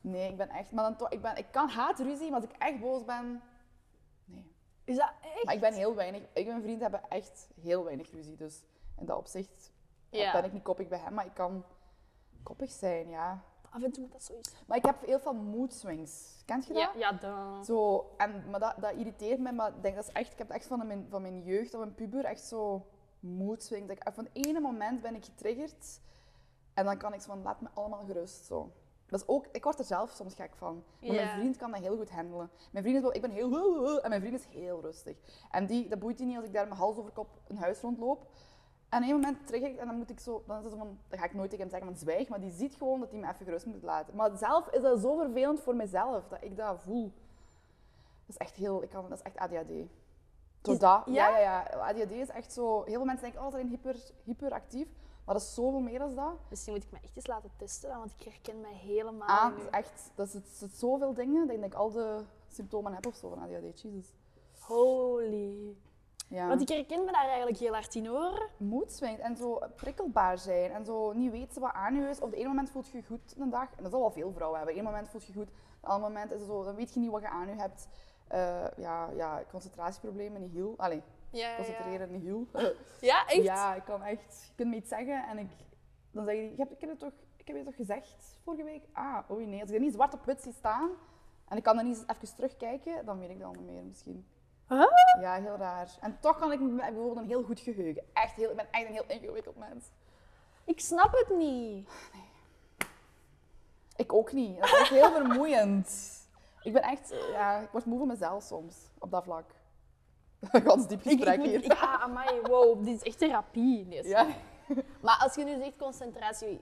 Speaker 1: Nee, ik ben echt, maar dan toch, ik, ben, ik kan haatruzie, maar als ik echt boos ben, nee.
Speaker 2: Is dat echt?
Speaker 1: Maar ik ben heel weinig, ik en mijn vriend hebben echt heel weinig ruzie, dus in dat opzicht ja, ben ik niet koppig bij hem, maar ik kan koppig zijn, ja.
Speaker 2: Af en toe moet dat zo is.
Speaker 1: Maar ik heb heel veel mood swings. Kent je dat?
Speaker 2: Ja, ja dan.
Speaker 1: Zo, en, maar dat, dat irriteert mij, maar ik, denk, dat is echt, ik heb het echt van mijn, van mijn jeugd of mijn puber echt zo mood swings. Dat ik van het ene moment ben ik getriggerd en dan kan ik zo van laat me allemaal gerust. Zo. Dat is ook, ik word er zelf soms gek van. Maar
Speaker 2: Ja.
Speaker 1: mijn vriend kan dat heel goed handelen. Mijn vriend is wel, ik ben heel, en mijn vriend is heel rustig. En die, dat boeit die niet als ik daar mijn hals over kop een huis rondloop. En op een moment trigger ik en dan moet ik zo, dan is het zo van, dan ga ik nooit tegen hem zeggen van zwijg, maar die ziet gewoon dat hij me even gerust moet laten. Maar zelf is dat zo vervelend voor mezelf, dat ik dat voel. Dat is echt heel, ik kan, dat is echt ADHD. Zo
Speaker 2: Is-
Speaker 1: dat,
Speaker 2: ja?
Speaker 1: ja? ja, ja, ADHD is echt zo, heel veel mensen denken, oh, ze zijn hyper, hyperactief. Maar dat is zoveel meer dan dat.
Speaker 2: Misschien moet ik me echt eens laten testen, dan, want ik herken mij helemaal
Speaker 1: Aan,
Speaker 2: niet.
Speaker 1: Ah, echt, dat zit, zit zoveel dingen dat ik denk al de symptomen heb of zo van ADHD. Jezus.
Speaker 2: Holy.
Speaker 1: Ja.
Speaker 2: Want ik herken me daar eigenlijk heel hard in hoor.
Speaker 1: moed swingt en zo prikkelbaar zijn en zo niet weten wat aan je is. Op de ene moment voelt je je goed een dag, en dat zal wel veel vrouwen hebben. Eén moment voelt je goed, een ander moment is het zo, dan weet je niet wat je aan je hebt. Eh, ja, ja, concentratieproblemen, niet heel. Allee,
Speaker 2: Ja,
Speaker 1: concentreren, niet heel. Eh,
Speaker 2: Ja, echt?
Speaker 1: Ja, ik kan echt, je kunt me iets zeggen en ik, dan zeg je, je hebt, ik, heb het toch, ik heb je toch gezegd vorige week? Ah, oei nee, als ik er niet zwart op wit zie staan en ik kan er niet eens even terugkijken, dan weet ik dat al niet meer misschien.
Speaker 2: Huh?
Speaker 1: Ja, heel raar. En toch kan ik me- ik heb bijvoorbeeld een heel goed geheugen. Echt heel, ik ben echt een heel ingewikkeld mens.
Speaker 2: Ik snap het niet.
Speaker 1: Ik ook niet. Dat is echt heel vermoeiend. Ik ben echt, eh, ja, ik word moe van mezelf soms, op dat vlak. Gans diep
Speaker 2: Ik,
Speaker 1: gesprek
Speaker 2: ik moet-
Speaker 1: hier.
Speaker 2: ik- ah, amai, wow, dit is echt therapie. Nee,
Speaker 1: Ja.
Speaker 2: Maar als je nu zegt concentratie,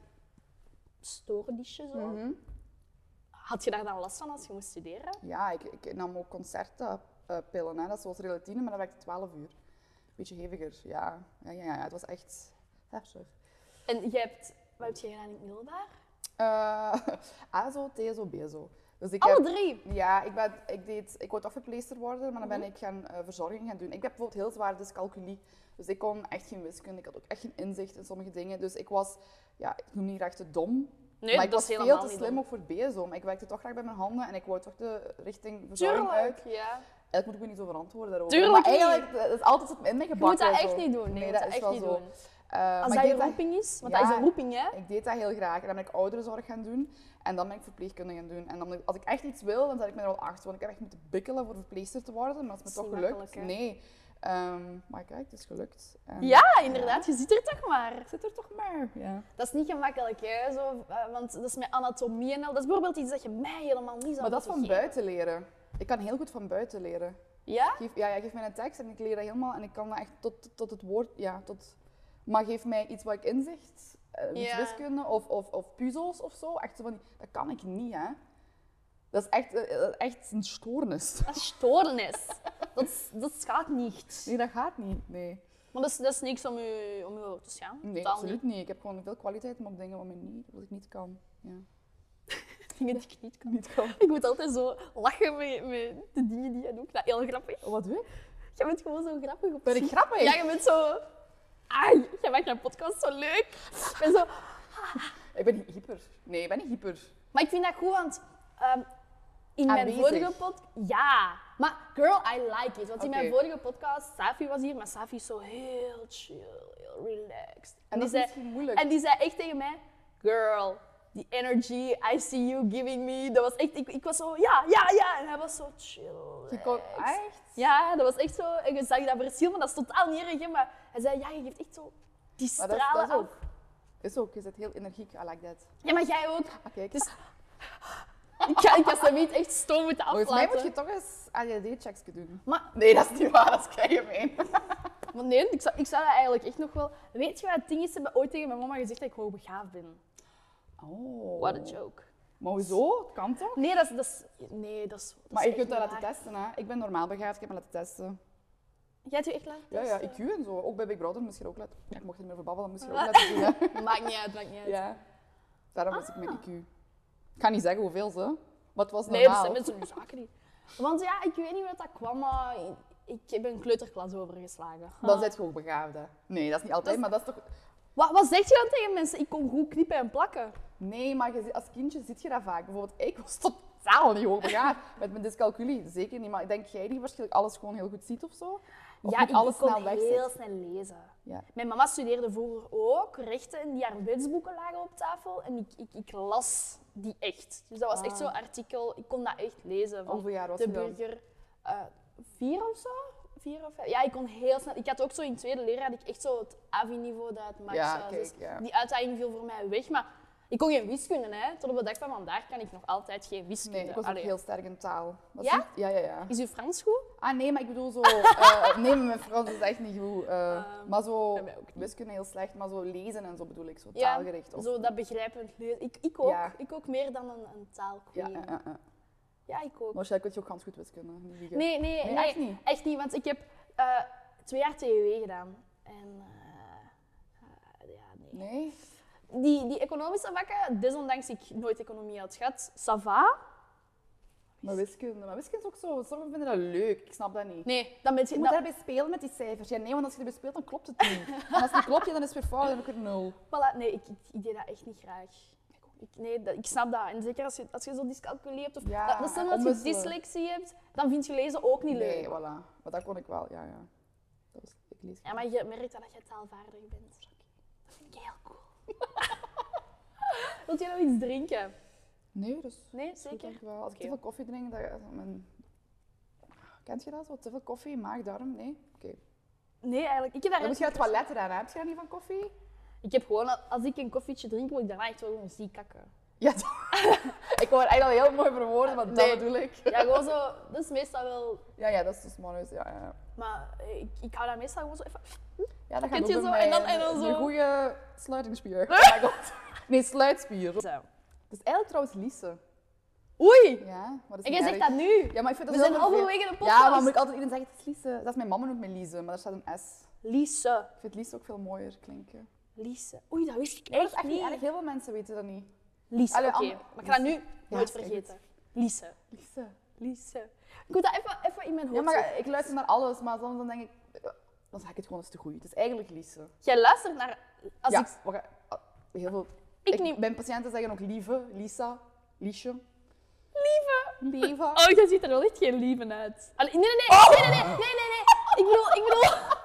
Speaker 2: stoordisje zo,
Speaker 1: Mhm.
Speaker 2: had je daar dan last van als je moest studeren?
Speaker 1: Ja, ik, ik nam ook concertpillen. Hè. Dat is zoals relatine, maar dat werkte 12 uur. Beetje heviger, ja. Ja, ja, ja. Het was echt heftig.
Speaker 2: En jij hebt, wat heb je gedaan in het middelbaar?
Speaker 1: Eh ASO, TSO, BSO. Dus ik
Speaker 2: Alle
Speaker 1: heb,
Speaker 2: drie.
Speaker 1: ja, ik, ben, ik, deed, ik wou afgepleester worden, maar dan
Speaker 2: Mhm.
Speaker 1: ben ik gaan eh, verzorging gaan doen. Ik heb bijvoorbeeld heel zwaar dyscalculie. Dus ik kon echt geen wiskunde. Ik had ook echt geen inzicht in sommige dingen. Dus ik was, ja, ik noem niet echt te dom.
Speaker 2: Nee,
Speaker 1: maar ik
Speaker 2: dat
Speaker 1: was
Speaker 2: is
Speaker 1: veel
Speaker 2: helemaal
Speaker 1: te
Speaker 2: niet
Speaker 1: slim
Speaker 2: dom.
Speaker 1: ook voor BSO. Maar ik werkte toch graag bij mijn handen en ik wou toch de richting verzorging uit.
Speaker 2: Tuurlijk, ja.
Speaker 1: Eigenlijk moet ik me niet zo verantwoorden daarover.
Speaker 2: Tuurlijk
Speaker 1: maar
Speaker 2: niet.
Speaker 1: eigenlijk, dat is altijd in mijn
Speaker 2: Je moet
Speaker 1: gebak.
Speaker 2: dat
Speaker 1: en zo.
Speaker 2: echt niet doen. Nee, je moet dat echt
Speaker 1: wel
Speaker 2: niet
Speaker 1: zo.
Speaker 2: doen.
Speaker 1: Eh, maar
Speaker 2: Als dat je
Speaker 1: ik, deed dat,
Speaker 2: roeping is, want
Speaker 1: Ja.
Speaker 2: dat is een roeping, hè?
Speaker 1: ik deed dat heel graag. En dan ben ik ouderenzorg gaan doen. En dan ben ik verpleegkunde gaan doen. En dan, als ik echt iets wil, dan zet ik me er al achter. Want ik heb echt moeten bikkelen voor verpleegster te worden. Maar dat is me
Speaker 2: Dat
Speaker 1: toch
Speaker 2: is niet
Speaker 1: gelukt.
Speaker 2: makkelijk, hè?
Speaker 1: Nee. Ehm, maar kijk, het is gelukt. En
Speaker 2: Ja, inderdaad, je zit er toch maar.
Speaker 1: Ik zit er toch maar. Ja.
Speaker 2: Dat is niet gemakkelijk, hè? Zo, eh, want dat is met anatomie en al. Dat is bijvoorbeeld iets dat je mij helemaal niet zou
Speaker 1: Maar dat is van
Speaker 2: moeten geven.
Speaker 1: buiten leren. Ik kan heel goed van buiten leren.
Speaker 2: Ja?
Speaker 1: Geef, ja, ja, geef mij een tekst en ik leer dat helemaal en ik kan dat echt tot, tot het woord, ja, tot... Maar geef mij iets wat ik inzicht, eh, iets
Speaker 2: Ja.
Speaker 1: wiskunde of, of, of puzzels of zo. Echt zo van, die- dat kan ik niet, hè. Dat is echt, eh, eh, echt een stoornis.
Speaker 2: Dat is stoornis. dat, is- dat gaat niet.
Speaker 1: Nee, dat gaat niet. Nee,
Speaker 2: Maar dat is, dat is niks om je, om je over te schamen.
Speaker 1: nee
Speaker 2: Totaal
Speaker 1: absoluut niet. Ik heb gewoon veel kwaliteiten maar op dingen wat, mij niet, wat ik niet kan. Ja.
Speaker 2: niet. Dingen die ik niet kan.
Speaker 1: Niet kan.
Speaker 2: Ik moet altijd zo lachen met, met de dingen die je doet. Dat is heel grappig.
Speaker 1: Oh, Wat doe ik?
Speaker 2: Je bent gewoon zo grappig op
Speaker 1: Ben ik
Speaker 2: zich.
Speaker 1: grappig?
Speaker 2: Ja, je bent zo... Ai, jij maakt mijn podcast zo leuk. Ik ben zo...
Speaker 1: Ik ben niet hyper. Nee, ik ben niet hyper.
Speaker 2: Maar ik vind dat goed, want ehm, in mijn
Speaker 1: Aanwezig.
Speaker 2: vorige podcast... Ja, maar girl, I like it. Want in mijn
Speaker 1: Oké.
Speaker 2: vorige podcast, Safi was hier, maar Safi is zo heel chill, heel relaxed.
Speaker 1: En dat is
Speaker 2: zei,
Speaker 1: misschien moeilijk.
Speaker 2: En die zei echt tegen mij, girl, the energy I see you giving me. Dat was echt, ik, ik was zo, ja, ja, ja. En hij was zo chill.
Speaker 1: Je kan,
Speaker 2: relaxed.
Speaker 1: echt?
Speaker 2: Ja, dat was echt zo. En je zag dat verschil, maar dat is totaal niet erg. hè, Maar hij zei, ja, je geeft echt zo die
Speaker 1: Maar dat, is- dat
Speaker 2: stralen
Speaker 1: is
Speaker 2: af.
Speaker 1: ook. Is ook. Je bent heel energiek. I like that.
Speaker 2: Ja, maar jij ook.
Speaker 1: Ah, kijk.
Speaker 2: Dus ik ga, ik ga ze niet echt stom moeten aflaten.
Speaker 1: Volgens mij moet je toch eens ADHD-checks doen.
Speaker 2: Maar,
Speaker 1: Nee, dat is niet waar, dat is keigemeen.
Speaker 2: maar nee, ik zou, ik zou dat eigenlijk echt nog wel... Weet je wat het ding is? Ze hebben ooit tegen mijn mama gezegd dat ik hoogbegaafd ben.
Speaker 1: Oh.
Speaker 2: What a joke.
Speaker 1: Maar hoezo? Het kan toch?
Speaker 2: Nee, dat is... Dat is nee, dat is... dat is
Speaker 1: Maar je
Speaker 2: echt
Speaker 1: kunt dat
Speaker 2: niet
Speaker 1: laten
Speaker 2: waar.
Speaker 1: testen, hè. Ik ben normaal begaafd, ik heb me laten testen.
Speaker 2: Jij hebt je echt laten
Speaker 1: Ja, ja,
Speaker 2: testen?
Speaker 1: IQ en zo. Ook bij Big Brother moest je er ook laten... Ja, ik mocht er niet meer voor babbelen, moest je er ook laten doen, hè.
Speaker 2: Maakt niet uit, maakt niet uit.
Speaker 1: Ja. Daarom wist ik mijn IQ. Ik ga niet zeggen hoeveel, ze. Maar het was
Speaker 2: Ah. Nee, dus dat
Speaker 1: normaal.
Speaker 2: zijn mensen nu zaken niet. Want ja, ik weet niet wat dat kwam, maar ik, ik ben kleuterklas overgeslagen.
Speaker 1: Dan zit je ook begaafd, hè. Nee, dat is niet altijd,
Speaker 2: Ah. Dat
Speaker 1: maar dat is toch...
Speaker 2: Wat, wat zeg je dan tegen mensen? Ik kon goed knippen en plakken.
Speaker 1: Nee, maar je ziet- als kindje zie je dat vaak. Bijvoorbeeld, ik was totaal niet hoogbegaafd met mijn dyscalculie. Zeker niet, maar ik denk jij die waarschijnlijk alles gewoon heel goed ziet of zo. Of
Speaker 2: ja,
Speaker 1: niet
Speaker 2: ik
Speaker 1: alles
Speaker 2: kon
Speaker 1: snel wegzet.
Speaker 2: heel snel lezen.
Speaker 1: Ja.
Speaker 2: Mijn mama studeerde vroeger ook rechten en die haar wetsboeken lagen op tafel. En ik, ik, ik las die echt. Dus dat was echt
Speaker 1: Ah.
Speaker 2: zo'n artikel. Ik kon dat echt lezen. Van
Speaker 1: Hoeveel jaar was
Speaker 2: de
Speaker 1: je dan?
Speaker 2: burger. eh, vier of zo? Vier of vijf? Ja, ik kon heel snel. Ik had ook zo in tweede leerjaar had ik echt zo het AVI-niveau dat het max
Speaker 1: Ja,
Speaker 2: was.
Speaker 1: kijk,
Speaker 2: Dus
Speaker 1: ja.
Speaker 2: Die uitdaging viel voor mij weg. Maar Ik kon geen wiskunde, hè. Tot op de dag van vandaag kan ik nog altijd geen wiskunde.
Speaker 1: Nee, ik was ook
Speaker 2: Allee.
Speaker 1: heel sterk in taal. Dat is
Speaker 2: Ja?
Speaker 1: niet- ja, ja, ja.
Speaker 2: Is uw Frans goed?
Speaker 1: Ah nee, maar ik bedoel zo, eh nee, maar mijn Frans is echt niet goed. eh,
Speaker 2: Ehm,
Speaker 1: maar zo,
Speaker 2: bij mij ook niet.
Speaker 1: wiskunde heel slecht, maar zo lezen en zo bedoel ik, zo
Speaker 2: Ja,
Speaker 1: taalgericht. Of,
Speaker 2: Zo dat begrijpend lezen. Ik, ik ook.
Speaker 1: Ja.
Speaker 2: Ik ook meer dan een, een
Speaker 1: ja,
Speaker 2: taalqueen.
Speaker 1: ja,
Speaker 2: Ja,
Speaker 1: ja, ja.
Speaker 2: ik ook.
Speaker 1: Maar jij kunt je ook gans goed wiskunde. niet liegen.
Speaker 2: Nee, nee, nee.
Speaker 1: nee, echt niet.
Speaker 2: Echt niet, want ik heb eh, twee jaar TUW gedaan. En eh, eh, ja, nee.
Speaker 1: Nee?
Speaker 2: Die, die economische vakken, desondanks ik nooit economie had gehad, sava.
Speaker 1: Maar wiskunde, maar wiskunde is ook zo, sommigen vinden dat leuk, ik snap dat niet.
Speaker 2: Nee, Nou- dan ben
Speaker 1: Je
Speaker 2: je...
Speaker 1: moet
Speaker 2: dan-
Speaker 1: daarbij spelen met die cijfers. Ja, nee, want als je erbij speelt, dan klopt het niet. En als het niet klopt, ja, dan is het weer fout, dan heb ik er nul.
Speaker 2: voilà, nee, ik, ik, ik deed dat echt niet graag. Ik, nee, dat, ik snap dat. En zeker als je, als je zo dyscalculie hebt of
Speaker 1: Ja,
Speaker 2: dat, dat stel dat je
Speaker 1: onbewust wel.
Speaker 2: dyslexie hebt, dan vind je lezen ook niet
Speaker 1: Nee,
Speaker 2: leuk.
Speaker 1: voilà. Maar dat kon ik wel, ja, ja. Dat was, ik lees.
Speaker 2: Ja, maar je merkt dat je taalvaardig bent. Dat vind ik heel cool. Wilt jij nog iets drinken?
Speaker 1: Nee, dus...
Speaker 2: Nee,
Speaker 1: Goed,
Speaker 2: zeker.
Speaker 1: dankjewel. Als ik te
Speaker 2: Oké.
Speaker 1: veel koffie drink, dan... dan Mijn... Kent je dat zo? Te veel koffie, maag, darm? Nee? Oké.
Speaker 2: Nee, eigenlijk. Ik heb daar
Speaker 1: Dan moet je
Speaker 2: echt-
Speaker 1: naar het toilet eraan. hè? Heb je daar niet van koffie?
Speaker 2: Ik heb gewoon, al- als ik een koffietje drink, moet ik daarna echt wel gewoon ziek kakken.
Speaker 1: Ja, ik hoor echt al heel mooi verwoorden, want
Speaker 2: Nee.
Speaker 1: dat bedoel ik.
Speaker 2: Ja, gewoon zo. Dat is meestal wel.
Speaker 1: Ja, ja, dat is dus morgens. Ja, ja.
Speaker 2: Maar ik, ik hou daar meestal gewoon zo even.
Speaker 1: ja dat
Speaker 2: Kent
Speaker 1: gaat
Speaker 2: je
Speaker 1: ook
Speaker 2: zo,
Speaker 1: bij
Speaker 2: en
Speaker 1: mij.
Speaker 2: dan- en dan
Speaker 1: Een-
Speaker 2: zo.
Speaker 1: Een goede sluitingsspier. Oh my god. Nee, sluitspier. Dat
Speaker 2: Zo.
Speaker 1: is eigenlijk trouwens Lise.
Speaker 2: Oei!
Speaker 1: Ja, maar dat is
Speaker 2: En
Speaker 1: niet
Speaker 2: jij zegt
Speaker 1: erg.
Speaker 2: dat nu.
Speaker 1: Ja, maar ik vind
Speaker 2: We
Speaker 1: dat
Speaker 2: zijn
Speaker 1: heel vervelend.
Speaker 2: halverwege de podcast.
Speaker 1: Ja, maar moet ik altijd iedereen zeggen, het is Lise. Dat is mijn mama noemt me Lise, maar daar staat een S.
Speaker 2: Lise.
Speaker 1: Ik vind Lise ook veel mooier klinken.
Speaker 2: Lise. Oei, dat wist ik
Speaker 1: Maar dat
Speaker 2: echt,
Speaker 1: is echt niet erg.
Speaker 2: niet.
Speaker 1: Heel veel mensen weten dat niet.
Speaker 2: Lise, oké.
Speaker 1: Allee, ander-
Speaker 2: Maar ik ga dat nu nooit
Speaker 1: is echt
Speaker 2: vergeten. Lise.
Speaker 1: Lise.
Speaker 2: Lise. Ik moet dat even, even in mijn hoofd
Speaker 1: Ja,
Speaker 2: zetten.
Speaker 1: maar ik luister naar alles, maar soms dan denk ik, eh, dan zeg ik het gewoon eens te goed. Het is eigenlijk Lise.
Speaker 2: Jij luistert naar... Als
Speaker 1: ja,
Speaker 2: ik,
Speaker 1: we gaan- ah, heel veel.
Speaker 2: ik, neem...
Speaker 1: Mijn patiënten zeggen ook lieve, Lisa, Liesje.
Speaker 2: Lieve.
Speaker 1: Lieve.
Speaker 2: Oh, jij ziet er wel echt geen lieven uit. Allee, nee, nee, nee.
Speaker 1: Oh!
Speaker 2: Nee, nee, nee. Nee, nee, nee. Ik bedoel, ik bedoel...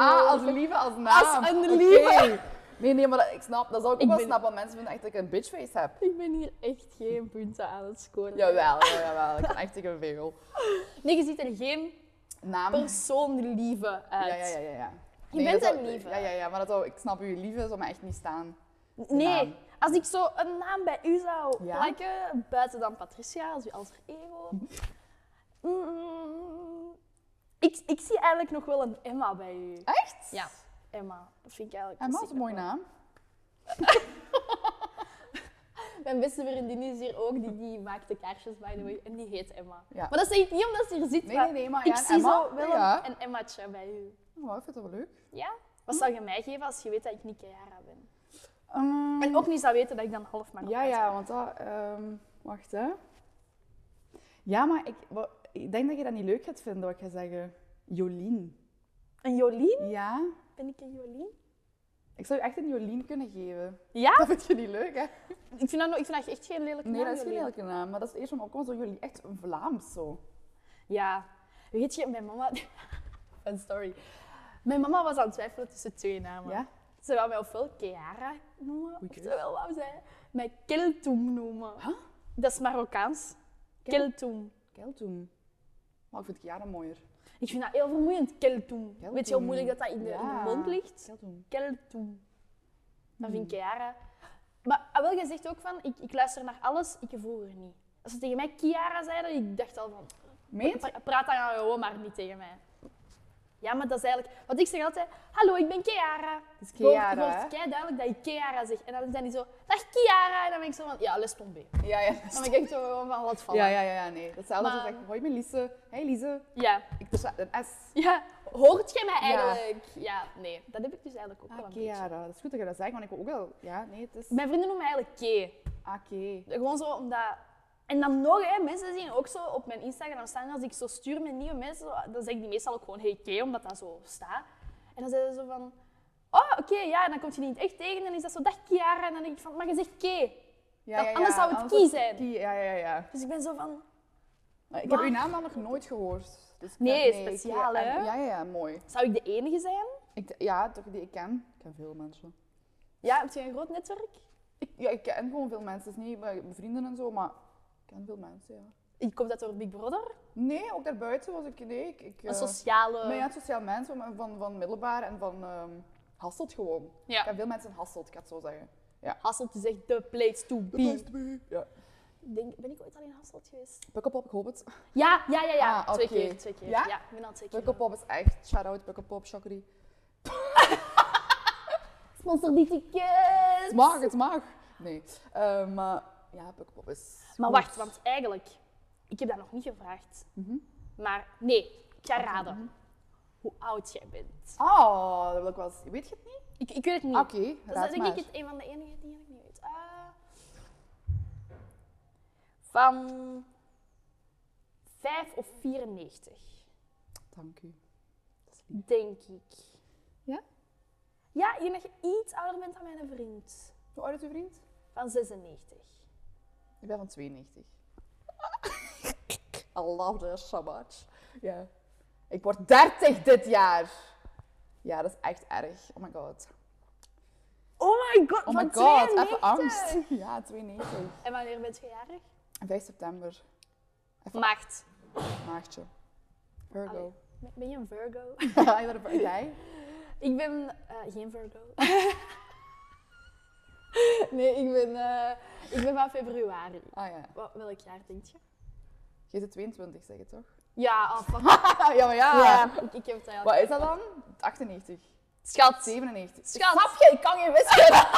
Speaker 1: Ah, als lieve als naam.
Speaker 2: Als een
Speaker 1: Oké.
Speaker 2: lieve.
Speaker 1: Nee, nee, maar dat- ik snap, dat zou ik ook
Speaker 2: Ik
Speaker 1: wel
Speaker 2: ben-
Speaker 1: snappen, want mensen vinden echt dat ik een bitchface heb.
Speaker 2: Ik ben hier echt geen punten aan het scoren.
Speaker 1: Jawel, ja, jawel, ik ben echt een vegel.
Speaker 2: Nee, je ziet er geen
Speaker 1: Naam.
Speaker 2: persoon lieve
Speaker 1: Ja,
Speaker 2: uit.
Speaker 1: ja, ja, ja. ja.
Speaker 2: Je
Speaker 1: Nee,
Speaker 2: bent
Speaker 1: dat
Speaker 2: een
Speaker 1: zou-
Speaker 2: lieve.
Speaker 1: Ja, ja, ja, maar dat zou, ik snap u, lieve zou me echt niet staan.
Speaker 2: Nee,
Speaker 1: naam.
Speaker 2: als ik zo een naam bij u zou
Speaker 1: Ja?
Speaker 2: plakken, buiten dan Patricia, als uw alter ego. Mm, ik, ik zie eigenlijk nog wel een Emma bij u.
Speaker 1: Echt?
Speaker 2: Ja, Emma. Dat vind ik eigenlijk...
Speaker 1: Emma
Speaker 2: dat
Speaker 1: is
Speaker 2: zie
Speaker 1: een
Speaker 2: ik
Speaker 1: mooie
Speaker 2: nog
Speaker 1: naam.
Speaker 2: wel. Mijn beste vriendin is hier ook, die, die maakt de kaarsjes, by the way. En die heet Emma.
Speaker 1: Ja.
Speaker 2: Maar dat zeg ik niet omdat ze hier zit,
Speaker 1: Nee,
Speaker 2: maar
Speaker 1: nee, nee, maar
Speaker 2: ik
Speaker 1: ja,
Speaker 2: zie
Speaker 1: Emma,
Speaker 2: zo wel
Speaker 1: ja.
Speaker 2: een, een Emmaatje bij u.
Speaker 1: Oh, ik vind dat wel leuk.
Speaker 2: Ja? Wat
Speaker 1: Hm?
Speaker 2: zou je mij geven als je weet dat ik niet Chiara ben?
Speaker 1: Ehm,
Speaker 2: En ook niet zou weten dat ik dan half man
Speaker 1: Ja, ja, want dat. ehm, wacht hè. Ja, maar ik, wa- ik denk dat je dat niet leuk gaat vinden wat ik ga zeggen. Jolien.
Speaker 2: Een Jolien?
Speaker 1: Ja?
Speaker 2: Ben ik een Jolien?
Speaker 1: Ik zou je echt een Jolien kunnen geven.
Speaker 2: Ja?
Speaker 1: Ah! Dat vind je niet leuk, hè?
Speaker 2: Ik vind dat, no- ik vind dat echt geen lelijke
Speaker 1: Nee,
Speaker 2: naam,
Speaker 1: dat is geen
Speaker 2: Jolien.
Speaker 1: lelijke naam, maar dat is eerst om opkomen zo Jolien. Echt een Vlaams zo.
Speaker 2: Ja. Weet je, mijn mama... Fun story. Mijn mama was aan het twijfelen tussen twee namen.
Speaker 1: Ja?
Speaker 2: Ze wou mij ofwel Chiara noemen,
Speaker 1: Goeie keus.
Speaker 2: oftewel wou zij mij Keltoum noemen.
Speaker 1: Huh?
Speaker 2: Dat is Marokkaans.
Speaker 1: Kel-
Speaker 2: Keltoum.
Speaker 1: Keltoen. Maar ik vind Chiara mooier.
Speaker 2: Ik vind dat heel vermoeiend, Keltoum.
Speaker 1: Keltoem.
Speaker 2: Weet je hoe moeilijk dat, dat in, de, in de
Speaker 1: Ja.
Speaker 2: mond ligt?
Speaker 1: Keltoen.
Speaker 2: Keltoum. Dat vind
Speaker 1: Hmm.
Speaker 2: ik Chiara. Maar ah, wel, je zegt ook van, ik, ik luister naar alles, ik vroeger niet. Als ze tegen mij Chiara zeiden, ik dacht al van,
Speaker 1: Meent?
Speaker 2: Pra- Praat dan gewoon maar niet tegen mij. Ja, maar dat is eigenlijk... Want ik zeg altijd, hallo, ik ben Kiara. Dus
Speaker 1: Chiara,
Speaker 2: Je hoort
Speaker 1: hè?
Speaker 2: kei duidelijk dat ik Kiara zeg. En dan is dat niet zo, dag Kiara. En dan ben ik zo van, ja, les ton B.
Speaker 1: Ja, ja.
Speaker 2: Dan ben ik echt zo gewoon van, wat vallen.
Speaker 1: Ja,
Speaker 2: Ja,
Speaker 1: ja, ja, ja, nee. Hetzelfde als
Speaker 2: Maar-
Speaker 1: ik zeg, hoi mijn Lise. Hey Lise.
Speaker 2: ja.
Speaker 1: Ik dus een S.
Speaker 2: hoort jij mij
Speaker 1: Ja.
Speaker 2: eigenlijk? Ja. nee. Dat heb ik dus eigenlijk ook wel
Speaker 1: Ah,
Speaker 2: een beetje.
Speaker 1: Chiara. Dat is goed dat je dat zegt, want ik wil ook wel... Ja, nee, het is...
Speaker 2: Mijn vrienden noemen mij eigenlijk Kay.
Speaker 1: Ah, Oké.
Speaker 2: Gewoon zo omdat... En dan nog, hè, mensen zien ook zo op mijn Instagram staan, als ik zo stuur met nieuwe mensen, zo- dan zeg ik die meestal ook gewoon hey Kay, omdat dat zo staat. En dan zeiden ze zo van, oh oké, ja, en dan kom je die niet echt tegen, en dan is dat zo, dag Kiara, en dan denk ik van, maar je zegt Kay.
Speaker 1: Ja,
Speaker 2: Dan-
Speaker 1: ja, ja,
Speaker 2: anders zou het Kie zijn.
Speaker 1: Kie, ja, ja, ja.
Speaker 2: Dus ik ben zo van,
Speaker 1: Maar ik
Speaker 2: Maar-
Speaker 1: heb uw naam namelijk nooit gehoord. Dus ik
Speaker 2: Nee,
Speaker 1: dacht, Kie-
Speaker 2: speciaal, hè?
Speaker 1: en- Ja, ja, ja, mooi.
Speaker 2: zou ik de enige zijn?
Speaker 1: Ik, d- ja, toch die ik ken. Ik ken veel mensen.
Speaker 2: Ja, heb je een groot netwerk?
Speaker 1: Ik, ja, ik ken gewoon veel mensen. Het is niet mijn vrienden en zo, maar ik ken veel mensen, ja.
Speaker 2: Ik kom dat door Big Brother,
Speaker 1: Nee, ook daarbuiten was ik... Nee, ik... ik
Speaker 2: een
Speaker 1: eh,
Speaker 2: sociale...
Speaker 1: maar ja, sociaal mensen maar van, van middelbaar en van ehm Hasselt gewoon.
Speaker 2: Ja.
Speaker 1: Ik ken veel mensen in Hasselt, ik ga het zo zeggen. Ja.
Speaker 2: Hasselt is echt de place to be.
Speaker 1: Ja.
Speaker 2: Ik Denk, ben ik ooit al in Hasselt geweest?
Speaker 1: Pukkelpop, ik hoop het.
Speaker 2: Ja, ja, ja, ja.
Speaker 1: Ah,
Speaker 2: Twee
Speaker 1: oké.
Speaker 2: keer, twee keer.
Speaker 1: Ja?
Speaker 2: Ja, ik ben al twee keer.
Speaker 1: Pukkelpop is echt shout-out, Pukkelpop, Chockery.
Speaker 2: Sponsor die tickets!
Speaker 1: Het mag, het mag. Nee. Eh, maar ja, Pukkelpop is...
Speaker 2: Maar
Speaker 1: goed.
Speaker 2: wacht, want eigenlijk, ik heb dat nog niet gevraagd.
Speaker 1: Mhm.
Speaker 2: Maar nee, ik ga raden hoe oud jij bent.
Speaker 1: Ah, dat wil ik wel eens- Weet je het niet?
Speaker 2: Ik, ik weet het niet.
Speaker 1: Oké,
Speaker 2: dat is
Speaker 1: raad
Speaker 2: denk
Speaker 1: maar.
Speaker 2: ik het een van de enige dingen die ik niet weet. Ah. van 5 of 94,
Speaker 1: Dank u.
Speaker 2: denk ik.
Speaker 1: Ja?
Speaker 2: Ja, ik denk dat je iets ouder bent dan mijn vriend.
Speaker 1: Hoe oud is uw vriend?
Speaker 2: Van 96.
Speaker 1: Ik ben van 92. I love that so much. Ja. Ik word 30 dit jaar. Ja, dat is echt erg. Oh my god.
Speaker 2: Oh my god,
Speaker 1: Oh
Speaker 2: van
Speaker 1: my god,
Speaker 2: 92.
Speaker 1: even angst. Ja, 92.
Speaker 2: En wanneer bent je jarig?
Speaker 1: 5 september,
Speaker 2: Maart.
Speaker 1: maartje. Virgo.
Speaker 2: Ben je een Virgo?
Speaker 1: Jij bent een Vir- Jij?
Speaker 2: Ik ben eh, geen Virgo. nee, ik ben, eh, ik ben van februari.
Speaker 1: Ah ja.
Speaker 2: Wat, welk jaar denk je?
Speaker 1: Je zit 22, zeg je toch?
Speaker 2: Ja, oh, fuck.
Speaker 1: ja, maar Ah, ja.
Speaker 2: ja. Ik, ik heb het eigenlijk.
Speaker 1: Wat is dat dan? 98.
Speaker 2: Schat,
Speaker 1: 97.
Speaker 2: Schat.
Speaker 1: Snap je? Ik kan geen wiskunde.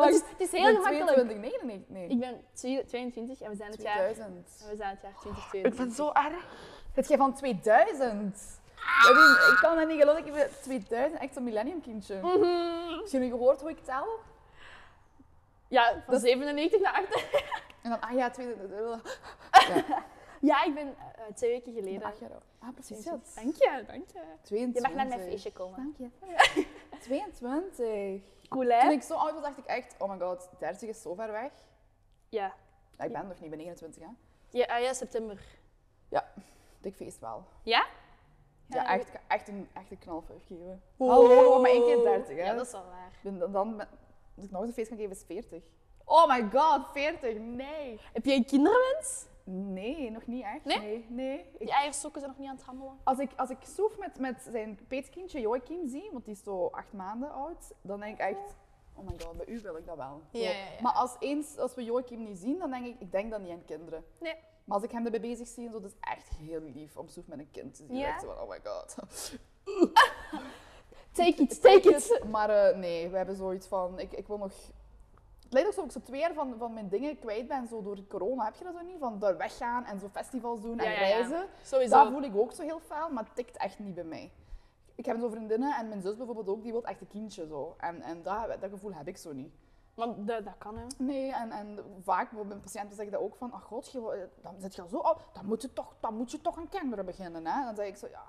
Speaker 2: het is, het is heel
Speaker 1: Ik ben
Speaker 2: gemakkelijk.
Speaker 1: 22, 99. Nee,
Speaker 2: Ik ben 22 en we zijn het jaar,
Speaker 1: 2000.
Speaker 2: en we zijn het jaar 2022.
Speaker 1: zo erg. Het jij van 2000? Dat is- ik kan het niet geloven. Ik ben 2000, echt een millennium kindje.
Speaker 2: Mhm.
Speaker 1: Heb je nu gehoord hoe ik tel?
Speaker 2: Ja, van 97 naar 8.
Speaker 1: En dan, ah ja, 2000.
Speaker 2: Ja, ik ben eh, twee weken
Speaker 1: Ik ben
Speaker 2: geleden.
Speaker 1: acht jaar oud. Ah, precies.
Speaker 2: 22. Dank je, dank je. Je
Speaker 1: 22.
Speaker 2: mag naar mijn feestje komen.
Speaker 1: Dank je. 22.
Speaker 2: Cool,
Speaker 1: Toen
Speaker 2: hè?
Speaker 1: ik zo oud was, dacht ik echt, oh my god, 30 is zo ver weg.
Speaker 2: Ja.
Speaker 1: Ja, ik ben nog niet, ik ben 29 hè.
Speaker 2: Ja, ah ja, september.
Speaker 1: Dik feest wel.
Speaker 2: Ja?
Speaker 1: Ja,
Speaker 2: Ja,
Speaker 1: echt, echt een echte knalfuif geven. Hallo, maar één keer 30 hè.
Speaker 2: Ja, dat is wel waar.
Speaker 1: Dan, dan, dan ben- als ik nog eens een feest kan geven, is 40. Oh my god, 40, nee.
Speaker 2: Heb jij een kinderwens?
Speaker 1: Nee, nog niet echt.
Speaker 2: Nee?
Speaker 1: Nee, nee. Ik-
Speaker 2: Die eierstokken zijn nog niet aan het handelen.
Speaker 1: als, ik, als ik Soef met, met zijn peetkindje Joachim zie, want die is zo acht maanden oud, dan denk ik echt, oh my god, bij u wil ik dat wel. Zo.
Speaker 2: Ja, ja, ja.
Speaker 1: Maar als, eens, als we Joachim niet zien, dan denk ik, ik denk dan niet aan kinderen.
Speaker 2: Nee.
Speaker 1: Maar als ik hem erbij bezig zie, en zo, dat is echt heel lief om Soef met een kind te zien.
Speaker 2: Ja?
Speaker 1: Echt zo van, oh my god.
Speaker 2: Take it, take it.
Speaker 1: Maar eh, nee, we hebben zoiets van, ik, ik wil nog... Het lijkt alsof ik zo twee jaar van, van mijn dingen kwijt ben, zo door corona. Heb je dat zo niet? Van daar weggaan en zo festivals doen en
Speaker 2: Ja, ja, ja.
Speaker 1: reizen. Dat
Speaker 2: Sowieso.
Speaker 1: voel ik ook zo heel fel, maar het tikt echt niet bij mij. Ik heb zo vriendinnen en mijn zus bijvoorbeeld ook, die wil echt een kindje zo. En, en dat, dat gevoel heb ik zo niet.
Speaker 2: Want dat, dat kan, hè.
Speaker 1: Nee, en, en vaak bij mijn patiënten zeg ik dat ook van, ach god, je, wil- eh, dan zit je al zo oud, dan moet je toch, dan moet je toch aan kinderen beginnen. Hè? Dan zeg ik zo, ja,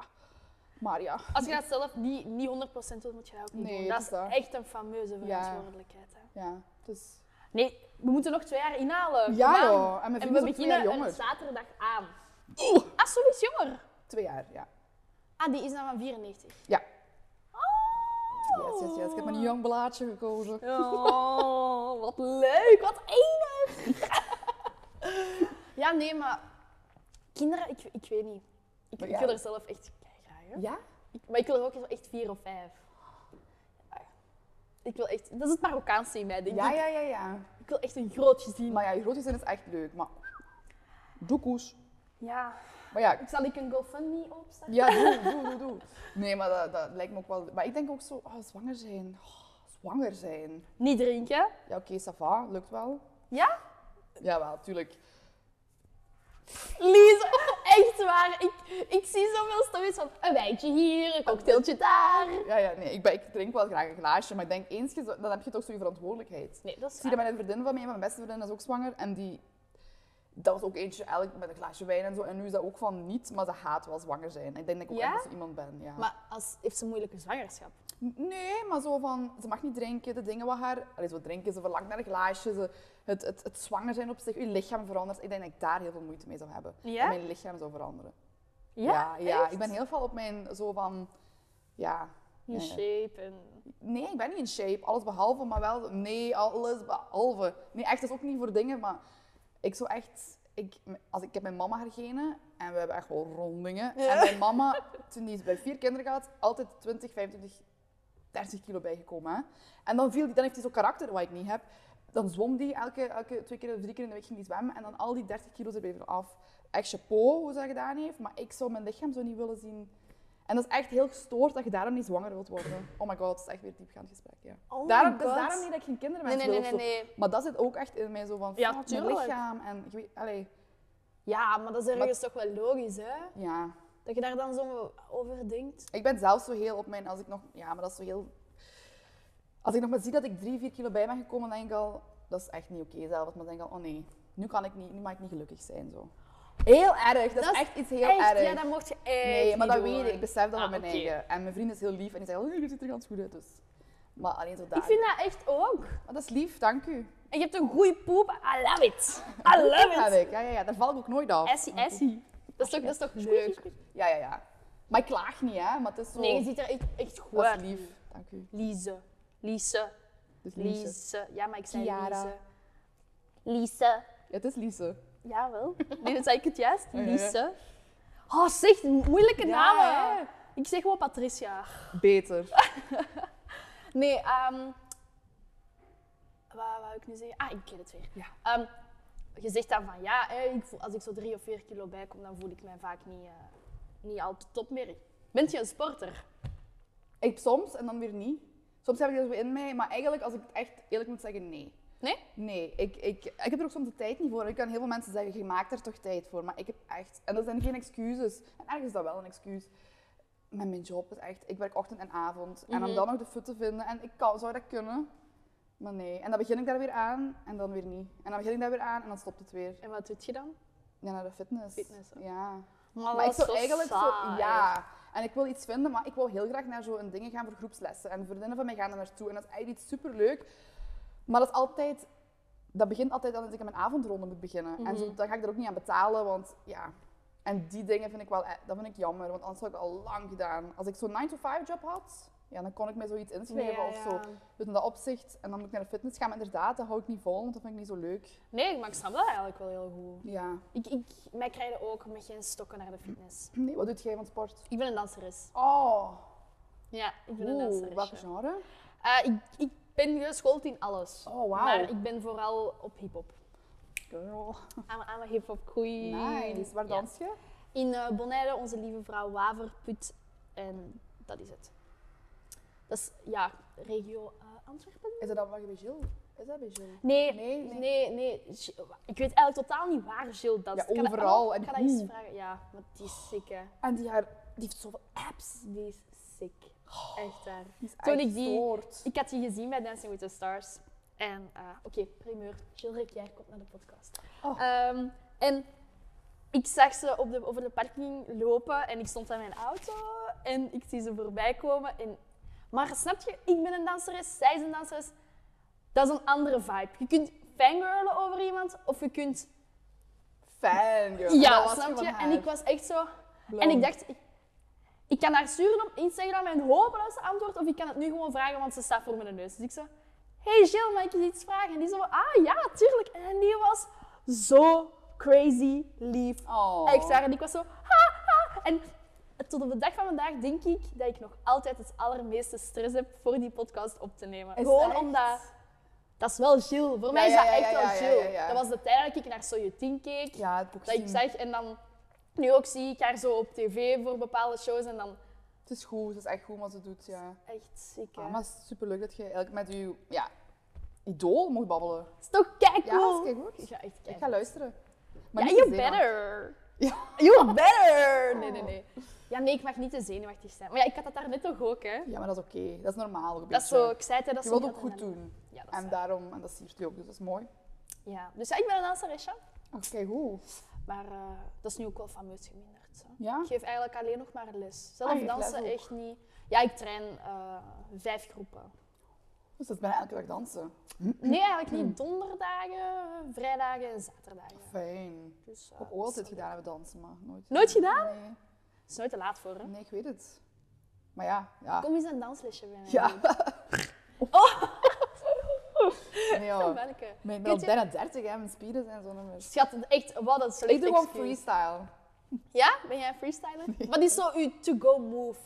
Speaker 1: maar ja.
Speaker 2: Als je dat zelf niet, niet 100% wilt, moet je dat ook niet
Speaker 1: Nee,
Speaker 2: doen.
Speaker 1: dat
Speaker 2: Dat
Speaker 1: is
Speaker 2: is
Speaker 1: dat.
Speaker 2: echt een fameuze verantwoordelijkheid. Hè.
Speaker 1: Ja, dus...
Speaker 2: Nee, we moeten nog twee jaar inhalen.
Speaker 1: Ja
Speaker 2: Come on.
Speaker 1: joh, en mijn
Speaker 2: En
Speaker 1: vriend
Speaker 2: we
Speaker 1: is ook twee jaar
Speaker 2: beginnen
Speaker 1: jonger.
Speaker 2: er zaterdag aan. Ah, zoiets jonger.
Speaker 1: Twee jaar, ja.
Speaker 2: Ah, die is dan van 94.
Speaker 1: Ja.
Speaker 2: Oh.
Speaker 1: Yes, yes, yes. Ik heb een jong blaadje gekozen.
Speaker 2: Oh, wat leuk, wat enig. ja, nee, maar kinderen, ik, ik weet niet. Ik,
Speaker 1: Maar
Speaker 2: ik
Speaker 1: ja.
Speaker 2: wil er zelf echt graag. hè.
Speaker 1: Ja?
Speaker 2: Ik- Maar ik wil er ook zo echt vier of vijf. Ja. Ik wil echt, dat is het Marokkaanse in mij, denk
Speaker 1: Ja,
Speaker 2: ik.
Speaker 1: ja, ja, ja.
Speaker 2: Ik wil echt een groot gezin.
Speaker 1: Maar ja, je grootjes zijn is echt leuk, maar... Doe koes.
Speaker 2: Ja.
Speaker 1: Maar ja,
Speaker 2: Zal ik een GoFundMe opstarten?
Speaker 1: Ja, doe, doe, doe, doe. Nee, maar dat, dat lijkt me ook wel. Maar ik denk ook zo, ah, zwanger zijn. Ah, zwanger zijn.
Speaker 2: Niet drinken.
Speaker 1: Ja, oké, ça va, lukt wel.
Speaker 2: Ja?
Speaker 1: Jawel, tuurlijk.
Speaker 2: Lies, echt waar. Ik, ik zie zoveel stories van een wijntje hier, een cocktailtje daar.
Speaker 1: Ja, ja, nee, ik, ben, ik drink wel graag een glaasje, maar ik denk eens, je zo- dan heb je toch zo je verantwoordelijkheid.
Speaker 2: Nee, dat
Speaker 1: Ik
Speaker 2: is
Speaker 1: zie dat mijn vriendin van mij, mijn beste vriendin is ook zwanger en die... Dat was ook eentje elk met een glaasje wijn en zo. En nu is dat ook van niet, maar ze haat wel zwanger zijn. Ik denk dat ik ook
Speaker 2: Ja?
Speaker 1: echt zo iemand ben. Ja.
Speaker 2: Maar als, heeft ze een moeilijke zwangerschap?
Speaker 1: Nee, maar zo van, ze mag niet drinken, de dingen wat haar... Allee, zo drinken, ze verlangt naar een glaasje, ze, het, het, het zwanger zijn op zich, je lichaam verandert. Ik denk dat ik daar heel veel moeite mee zou hebben.
Speaker 2: Ja?
Speaker 1: Dat mijn lichaam zou veranderen. ja,
Speaker 2: echt?
Speaker 1: ik ben heel veel op mijn, zo van, ja...
Speaker 2: In
Speaker 1: ja, ja.
Speaker 2: shape en...
Speaker 1: Nee, ik ben niet in shape, alles behalve, maar wel, nee, alles behalve. Nee, echt, dat is ook niet voor dingen, maar ik zou echt... Ik, als ik, ik heb mijn mama hergenen en we hebben echt wel rondingen.
Speaker 2: Ja.
Speaker 1: En mijn mama, toen die bij vier kinderen had, altijd 20, 25 30 kilo bijgekomen. Hè? En dan, viel die, dan heeft hij zo'n karakter wat ik niet heb. Dan zwom die elke, elke twee keer of drie keer in de week ging die zwemmen. En dan al die 30 kilo er weer af. Echt chapeau hoe ze dat gedaan heeft. Maar ik zou mijn lichaam zo niet willen zien. En dat is echt heel gestoord dat je daarom niet zwanger wilt worden. Oh my god, dat is echt weer diepgaand gesprek. Ja.
Speaker 2: Oh my
Speaker 1: daarom, dus
Speaker 2: God.
Speaker 1: daarom niet dat ik geen kinderen
Speaker 2: Nee,
Speaker 1: met
Speaker 2: nee, nee, nee, nee.
Speaker 1: Maar dat zit ook echt in mij zo van,
Speaker 2: Ja,
Speaker 1: fuck, mijn
Speaker 2: tuurlijk.
Speaker 1: lichaam. En, je weet, allee,
Speaker 2: Ja, maar dat is
Speaker 1: Maar-
Speaker 2: ergens toch wel logisch, hè?
Speaker 1: ja.
Speaker 2: Dat je daar dan zo over denkt.
Speaker 1: Ik ben zelf zo heel op mijn, als ik nog, ja, maar dat is zo heel... Als ik nog maar zie dat ik drie, vier kilo bij ben gekomen, dan denk ik al, dat is echt niet oké zelf. Maar dan denk ik al, oh nee, nu kan ik niet, nu mag ik niet gelukkig zijn, zo. Heel erg, dat,
Speaker 2: Dat
Speaker 1: is
Speaker 2: is
Speaker 1: echt iets heel erg.
Speaker 2: Ja, dat mocht je echt
Speaker 1: nee, maar
Speaker 2: niet
Speaker 1: dat
Speaker 2: doen.
Speaker 1: weet ik, ik besef dat
Speaker 2: Ah,
Speaker 1: van mijn
Speaker 2: oké.
Speaker 1: eigen. En mijn vriend is heel lief en die zegt, oh, je ziet er ganz goed uit, dus... Maar alleen zo daar.
Speaker 2: Ik vind dat echt ook.
Speaker 1: Maar Ah, dat is lief, dank u.
Speaker 2: En je hebt een goede poep. I love it. I love
Speaker 1: Heb
Speaker 2: it.
Speaker 1: ik. Ja, ja, ja, daar val ik ook nooit af.
Speaker 2: Essie, Essie. Dat is toch, dat is toch leuk?
Speaker 1: Leuk. Ja, ja, ja. Maar ik klaag niet, hè. Maar het is zo...
Speaker 2: Nee, je ziet er echt, echt goed
Speaker 1: dat is
Speaker 2: uit.
Speaker 1: lief. Dank u.
Speaker 2: Lise. Lise.
Speaker 1: Dus Lise.
Speaker 2: Lise. Ja, maar ik zei
Speaker 1: Chiara.
Speaker 2: Lise. Lise.
Speaker 1: Ja, het is Lise.
Speaker 2: Jawel. Nee, dat zei ik het juist.
Speaker 1: ja, ja.
Speaker 2: Lise. Oh, zeg, moeilijke
Speaker 1: Ja,
Speaker 2: namen.
Speaker 1: hè?
Speaker 2: Ik zeg gewoon Patricia.
Speaker 1: Beter.
Speaker 2: Nee, ehm wat wou ik nu zeggen? Ah, ik ken het weer.
Speaker 1: Ja.
Speaker 2: Ehm, je zegt dan van ja, hè, ik voel, als ik zo drie of vier kilo bijkom, dan voel ik mij vaak niet, eh, niet al te top meer. Bent je een sporter?
Speaker 1: Ik soms en dan weer niet. Soms heb ik dat zo in mij, maar eigenlijk, als ik het echt eerlijk moet zeggen, nee.
Speaker 2: Nee?
Speaker 1: Nee, ik, ik, ik heb er ook soms de tijd niet voor. Ik kan heel veel mensen zeggen, je maakt er toch tijd voor. Maar ik heb echt... En dat zijn geen excuses. En ergens is dat wel een excuus. Maar mijn job is echt... Ik werk ochtend en avond.
Speaker 2: Mhm.
Speaker 1: En om dan nog de fut te vinden. En ik kan, zou dat kunnen. Maar nee. En dan begin ik daar weer aan. En dan weer niet. En dan begin ik daar weer aan. En dan stopt het weer.
Speaker 2: En wat doet je dan?
Speaker 1: Ja, naar de fitness.
Speaker 2: Fitness, hè?
Speaker 1: Ja.
Speaker 2: Maar,
Speaker 1: Maar ik zou eigenlijk zo, ja. En ik wil iets vinden, maar ik wil heel graag naar zo'n dingen gaan voor groepslessen. En vriendinnen van mij gaan daar naartoe. En dat is eigenlijk iets superleuk. Maar dat is altijd, dat begint altijd al als ik aan mijn avondronde moet beginnen. En
Speaker 2: Mhm.
Speaker 1: zo, dan ga ik er ook niet aan betalen, want ja. En die dingen vind ik wel, e- dat vind ik jammer, want anders had ik het al lang gedaan. Als ik zo'n 9-to-5 job had, ja, dan kon ik mij zoiets inschrijven
Speaker 2: Ja,
Speaker 1: of
Speaker 2: ja.
Speaker 1: zo. Dus in dat opzicht, en dan moet ik naar de fitness gaan, maar inderdaad, dat hou ik niet vol, want dat vind ik niet zo leuk.
Speaker 2: Nee, maar ik snap dat eigenlijk wel heel goed.
Speaker 1: Ja.
Speaker 2: Ik, ik, mij krijgen ook met geen stokken naar de fitness.
Speaker 1: Nee, wat doet jij van sport?
Speaker 2: Ik ben een danseres.
Speaker 1: Oh,
Speaker 2: Ja, ik ben een
Speaker 1: oeh,
Speaker 2: danseres.
Speaker 1: welke
Speaker 2: ja.
Speaker 1: genre?
Speaker 2: Eh, ik, ik ben geschoold in alles.
Speaker 1: Oh, wauw.
Speaker 2: Maar ik ben vooral op hip-hop.
Speaker 1: Girl.
Speaker 2: I'm,
Speaker 1: Ah,
Speaker 2: I'm a hip-hop queen.
Speaker 1: Nice. Waar
Speaker 2: Ja.
Speaker 1: dans je?
Speaker 2: In eh Bonaire, onze lieve vrouw Waverput. En dat is het. Dat is, ja, regio eh, Antwerpen?
Speaker 1: Is dat dan wat je bij Jill? Is dat bij Jill?
Speaker 2: Nee,
Speaker 1: Nee,
Speaker 2: nee,
Speaker 1: nee.
Speaker 2: nee. Gi- Ik weet eigenlijk totaal niet waar Jill danst.
Speaker 1: Ja,
Speaker 2: Kan dat-
Speaker 1: overal. En
Speaker 2: Ik ga dat eens
Speaker 1: hoe?
Speaker 2: vragen. Ja, want die is sick, hè.
Speaker 1: En die, haar, die heeft zoveel apps. Oh.
Speaker 2: Die is sick. Echt waar.
Speaker 1: Die is
Speaker 2: Toen
Speaker 1: echt
Speaker 2: ik die-
Speaker 1: gestoord.
Speaker 2: Ik had die gezien bij Dancing with the Stars. En eh, oké, primeur. Jill Ricciard komt naar de podcast.
Speaker 1: Oh.
Speaker 2: Ehm, en ik zag ze op de, over de parking lopen en ik stond aan mijn auto en ik zie ze voorbij komen. En, maar snap je, ik ben een danseres, zij is een danseres. Dat is een andere vibe. Je kunt fangirlen over iemand of je kunt...
Speaker 1: Fan,
Speaker 2: Ja,
Speaker 1: girl. Dat was
Speaker 2: snap
Speaker 1: van
Speaker 2: je? En
Speaker 1: haar.
Speaker 2: ik was echt zo...
Speaker 1: Blauw.
Speaker 2: En ik dacht, ik, ik kan haar sturen op Instagram en hopen dat ze antwoordt. Of ik kan het nu gewoon vragen, want ze staat voor mijn neus. Dus ik zo, hey Jill, mag ik je iets vragen? En die zo, ah ja, tuurlijk. En die was zo crazy lief.
Speaker 1: Oh.
Speaker 2: Echt waar. En ik was zo, ha ha. En tot op de dag van vandaag denk ik dat ik nog altijd het allermeeste stress heb voor die podcast op te nemen.
Speaker 1: Is
Speaker 2: gewoon
Speaker 1: echt?
Speaker 2: omdat... Dat is wel Jill. Voor mij
Speaker 1: Ja,
Speaker 2: is
Speaker 1: ja, ja,
Speaker 2: dat echt
Speaker 1: ja, ja,
Speaker 2: wel Jill.
Speaker 1: ja, ja.
Speaker 2: Dat was de tijd dat ik naar Soyutin keek
Speaker 1: Ja, het boek
Speaker 2: dat ik
Speaker 1: zien.
Speaker 2: zag. En dan nu ook zie ik haar zo op tv voor bepaalde shows en dan
Speaker 1: Het is goed, het is echt goed wat ze doet, ja.
Speaker 2: echt ziek. hè.
Speaker 1: Ah, maar het is superleuk dat je eigenlijk met je ja, idool mocht babbelen.
Speaker 2: Het is toch kijk
Speaker 1: Ja, dat is keigoed.
Speaker 2: Ik ga echt
Speaker 1: Ik
Speaker 2: kijken.
Speaker 1: ga luisteren. Maar
Speaker 2: Ja,
Speaker 1: niet
Speaker 2: you
Speaker 1: te Oh. zenuwachtig.
Speaker 2: better.
Speaker 1: Ja.
Speaker 2: You better. Nee, nee, nee. Ja, nee, ik mag niet te zenuwachtig zijn. Maar ja, ik had dat daarnet toch ook, hè.
Speaker 1: Ja, maar dat is oké. Dat is normaal. ook een
Speaker 2: Dat is
Speaker 1: beetje.
Speaker 2: zo, ik zei het, hè, dat
Speaker 1: Je
Speaker 2: is
Speaker 1: wilt
Speaker 2: zo-
Speaker 1: ook goed doen.
Speaker 2: Ja, dat is
Speaker 1: En
Speaker 2: waar.
Speaker 1: daarom, en dat siert je ook, dus dat is mooi.
Speaker 2: ja. Dus ja, ik ben een danseresje.
Speaker 1: Oké, hoe?
Speaker 2: Maar eh, dat is nu ook wel fameus geminderd. hè.
Speaker 1: Ja?
Speaker 2: Ik geef eigenlijk alleen nog maar les. Zelf
Speaker 1: Ah, je geeft
Speaker 2: dansen
Speaker 1: les ook.
Speaker 2: echt niet. Ja, ik train eh, vijf groepen.
Speaker 1: Dus dat is bijna elke dag dansen.
Speaker 2: Nee, eigenlijk niet. Donderdagen, vrijdagen en zaterdagen.
Speaker 1: Fijn.
Speaker 2: Dus, eh,
Speaker 1: Ik heb ook altijd
Speaker 2: dat
Speaker 1: gedaan hebben dansen, maar nooit.
Speaker 2: Nooit gedaan?
Speaker 1: Nee.
Speaker 2: is nooit te laat voor, hè?
Speaker 1: Nee, ik weet het. Maar ja, ja.
Speaker 2: Kom Oh. eens een danslesje bij mij.
Speaker 1: Ja.
Speaker 2: doen.
Speaker 1: Nee,
Speaker 2: Dan
Speaker 1: hoor.
Speaker 2: ben ik er.
Speaker 1: Maar Ik ben al
Speaker 2: Kent je-
Speaker 1: bijna 30, hè. Mijn spieren zijn zo nummers.
Speaker 2: Schat, echt, wat een slecht
Speaker 1: Ik doe gewoon
Speaker 2: excuus.
Speaker 1: freestyle.
Speaker 2: Ja? Ben jij een freestyler? Wat is zo uw to-go move?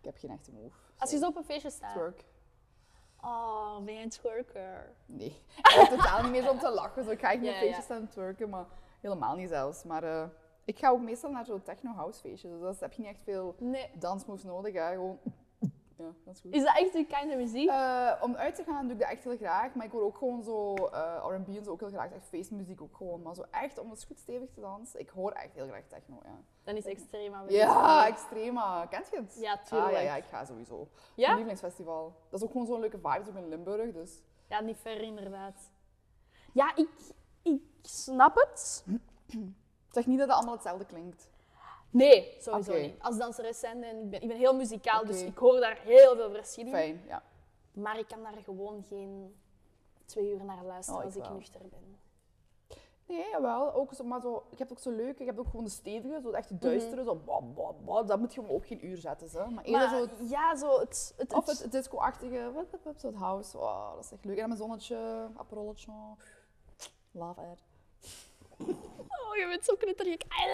Speaker 1: Ik heb geen echte move.
Speaker 2: Als je zo op een feestje staat.
Speaker 1: Twerk.
Speaker 2: Oh, ben je een twerker?
Speaker 1: Nee. Ik heb totaal niet meer zo om te lachen. Zo, ik ga echt niet
Speaker 2: Ja,
Speaker 1: op feestjes
Speaker 2: ja.
Speaker 1: staan twerken, maar helemaal niet zelfs. Maar eh, ik ga ook meestal naar zo'n techno-house feestjes. Dus dat heb je niet echt veel
Speaker 2: Nee.
Speaker 1: dansmoves nodig. Hè. Gewoon... Ja, dat is goed.
Speaker 2: Is dat echt uw kind of muziek?
Speaker 1: Eh, om uit te gaan doe ik dat echt heel graag, maar ik hoor ook gewoon zo eh, R&B en zo ook heel graag, echt feestmuziek ook gewoon, maar zo echt om het goed stevig te dansen, ik hoor echt heel graag techno, ja.
Speaker 2: Dan is het extreem aan
Speaker 1: Ja, extrema, kent je het?
Speaker 2: Ja,
Speaker 1: Ah,
Speaker 2: tuurlijk.
Speaker 1: ja, ja, ik ga sowieso.
Speaker 2: Ja?
Speaker 1: Mijn lievelingsfestival. Dat is ook gewoon zo'n leuke vibe, dat is ook in Limburg, dus.
Speaker 2: Ja, niet ver inderdaad. Ja, ik, ik snap het.
Speaker 1: Zeg niet dat het allemaal hetzelfde klinkt.
Speaker 2: Nee, sowieso
Speaker 1: Oké.
Speaker 2: niet. Als danseres zijn en ik ben, ik ben heel muzikaal, dus
Speaker 1: Oké.
Speaker 2: ik hoor daar heel veel verschillen.
Speaker 1: Fijn, ja.
Speaker 2: Maar ik kan daar gewoon geen twee uur naar luisteren
Speaker 1: Oh, ik
Speaker 2: als ik
Speaker 1: wel.
Speaker 2: nuchter ben.
Speaker 1: Nee, jawel. Ook zo, maar zo, je hebt ook zo leuk, je hebt ook gewoon de stevige, zo echt duistere, zo bam, bam, bam. Dat moet je ook geen uur zetten, hè. maar eerder
Speaker 2: Mhm. Maar
Speaker 1: zo
Speaker 2: ja, zo het... het,
Speaker 1: Of
Speaker 2: het-
Speaker 1: het disco-achtige, wat, wat, wat, zo'n house, wow, dat is echt leuk. En dan mijn zonnetje, aperolletje, love it.
Speaker 2: Oh, je bent zo knetterlijk. I